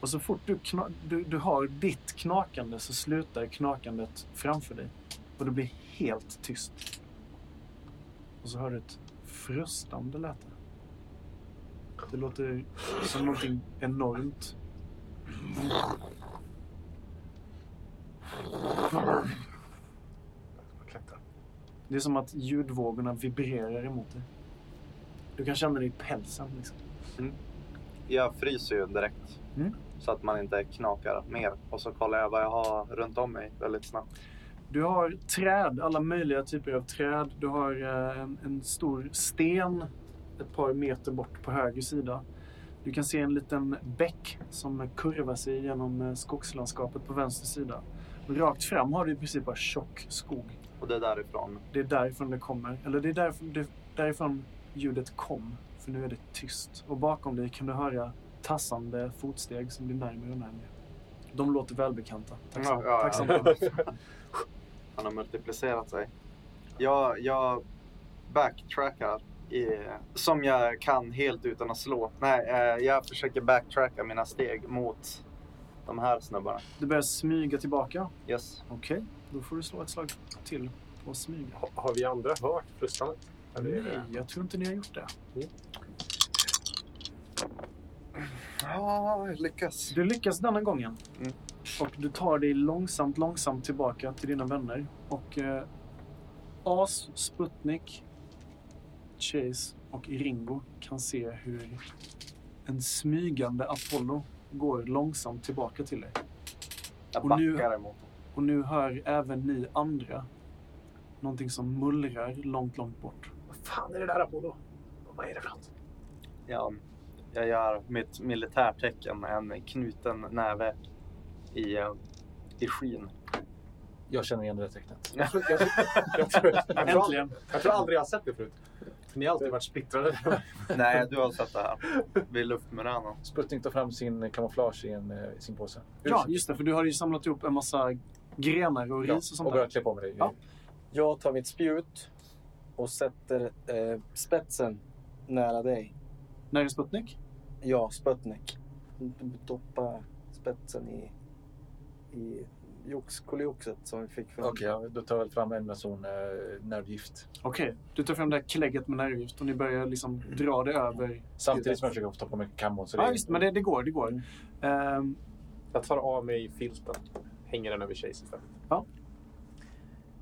Speaker 3: Och så fort du, kna, du, du har ditt knakande så slutar knakandet framför dig. Och det blir helt tyst. Och så hör du ett frustande läte. Det låter som någonting enormt. Det är som att ljudvågorna vibrerar emot dig. Du kan känna det i pälsen. Liksom.
Speaker 7: Jag fryser ju direkt.
Speaker 3: Mm.
Speaker 7: Så att man inte knakar mer. Och så kollar jag vad jag har runt om mig väldigt snabbt.
Speaker 3: Du har träd, alla möjliga typer av träd. Du har eh, en, en stor sten ett par meter bort på höger sida. Du kan se en liten bäck som kurvar sig genom eh, skogslandskapet på vänster sida. Rakt fram har du i princip bara tjock skog.
Speaker 7: Och det är därifrån.
Speaker 3: Det är därifrån det kommer. Eller det är därifrån, det, därifrån ljudet kom. För nu är det tyst. Och bakom dig kan du höra tassande fotsteg som blir närmare och närmare. De låter välbekanta. Tack så,
Speaker 7: Ja, ja,
Speaker 3: tack så
Speaker 7: ja.
Speaker 3: mycket.
Speaker 7: Han har multiplicerat sig. Jag, jag backtrackar. I, som jag kan helt utan att slå. Nej, eh, jag försöker backtracka mina steg mot de här snubbarna.
Speaker 3: Du börjar smyga tillbaka.
Speaker 7: Yes.
Speaker 3: Okej, då får du slå ett slag till på att smyga.
Speaker 5: Har, har vi andra hört frustandet? Eller är
Speaker 3: Nej,
Speaker 5: det-
Speaker 3: jag tror inte ni har gjort det.
Speaker 7: Ja, jag lyckas.
Speaker 3: Du Ah, lyckas denna gången.
Speaker 7: Mm.
Speaker 3: Och du tar dig långsamt, långsamt tillbaka till dina vänner. Och eh, As, Sputnik, Chase och Ringo kan se hur en smygande Apollo går långsamt tillbaka till dig.
Speaker 7: Jag
Speaker 3: Och nu-
Speaker 7: backar emot dem.
Speaker 3: Och nu hör även ni andra någonting som mullrar långt, långt bort.
Speaker 5: Vad fan är det där Apollo? Vad är det för något?
Speaker 7: Ja, jag gör mitt militärtecken, en knuten näve i, eh, i skyn. (laughs)
Speaker 6: Jag känner igen det där tecknet.
Speaker 5: Jag tror, jag, tror, jag, tror, jag, tror, aldrig-
Speaker 3: Äntligen!
Speaker 5: jag tror aldrig jag har sett det förut. Ni har alltid varit splittrade.
Speaker 7: Nej, du har sett det här. Vid luftmuränen.
Speaker 6: Sputnik tar fram sin kamouflage i, en, eh, i sin påse.
Speaker 3: Ja, just det, för du har ju samlat ihop en massa grenar och
Speaker 6: Ja,
Speaker 3: ris och sånt
Speaker 6: och
Speaker 3: där.
Speaker 6: börjar klä på mig det.
Speaker 3: Ja.
Speaker 2: Jag tar mitt spjut och sätter eh, spetsen nära dig.
Speaker 3: När är Sputnik?
Speaker 2: Ja, Sputnik. Doppa spetsen i, i joxkolioxet som vi fick fram.
Speaker 6: Okej, ja, då tar jag väl fram ämneszon eh, nervgift.
Speaker 3: Okej, du tar fram det här klägget med nervgift och ni börjar liksom
Speaker 2: Mm.
Speaker 3: dra det över.
Speaker 6: Samtidigt som jag försöker ta på mig kammon. Så
Speaker 3: Ja, just det, men det, det går, det går.
Speaker 2: Mm.
Speaker 3: Ehm,
Speaker 5: Jag tar av mig filten. Hänger den över Chase istället.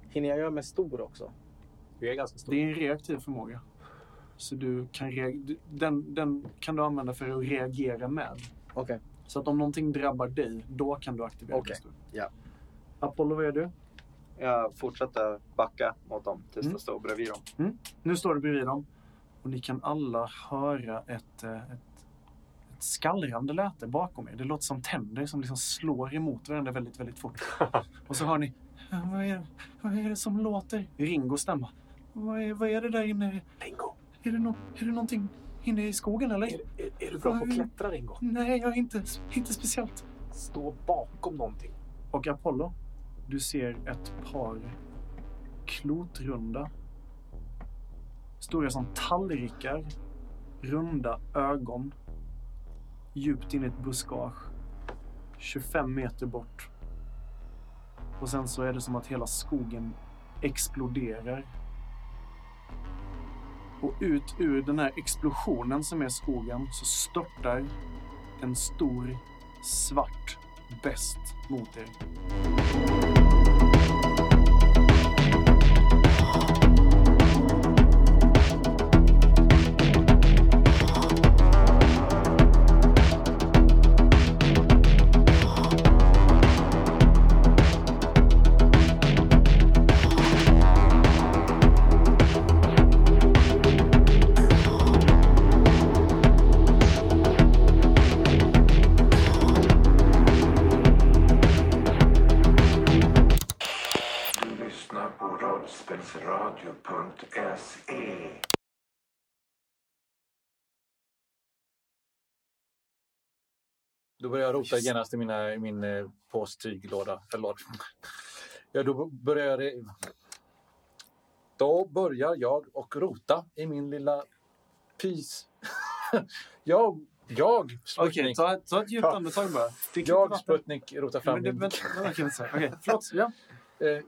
Speaker 2: Hinner jag göra mig stor också?
Speaker 5: Du är ganska stor.
Speaker 3: det är en reaktiv förmåga. Så du kan rea- du- den, den kan du använda för att reagera med.
Speaker 2: Okej.
Speaker 3: Så att om någonting drabbar dig, då kan du aktivera
Speaker 2: Okej,
Speaker 3: det.
Speaker 2: ja.
Speaker 3: Apollo, vad gör du?
Speaker 7: Jag fortsätter backa mot dem tills
Speaker 3: Mm.
Speaker 7: jag står bredvid dem.
Speaker 3: Nu står du bredvid dem och ni kan alla höra ett, eh, ett, ett skallrande läte bakom er. Det låter som tänder som liksom slår emot varandra väldigt, väldigt
Speaker 5: (laughs)
Speaker 3: fort. Och så hör ni, vad är, vad är det som låter? Ringo stämma. Vad är, vad är det där inne? Ringo! Är det, nå är det någonting? inne i skogen eller?
Speaker 5: Är, är, är du bra på att klättra, Ringo?
Speaker 3: Nej, jag är inte, inte speciellt.
Speaker 5: Stå bakom någonting.
Speaker 3: Och Apollo, du ser ett par klotrunda, stora som tallrikar, runda ögon, djupt in i ett buskage, 25 meter bort. Och sen så är det som att hela skogen exploderar. Och ut ur den här explosionen som är skogen så störtar en stor svart bäst mot er.
Speaker 1: Du lyssnar på rollspelsradio.se
Speaker 6: Då börjar jag rota genast i mina, i min eh, påstyglåda. Eller låda. Ja, då börjar jag... det- Då börjar jag och rota i min lilla pis. (laughs) jag, jag, Sputnik.
Speaker 3: ta, ta ett djupt
Speaker 6: Ja.
Speaker 3: andetag bara. Drick lite
Speaker 6: jag,
Speaker 3: vatten.
Speaker 6: Sputnik, rotar
Speaker 3: Ja,
Speaker 6: fram
Speaker 3: men det-
Speaker 6: min...
Speaker 3: vänta, vänta, Okej, vänta. Okej, förlåt. Ja.
Speaker 6: Eh,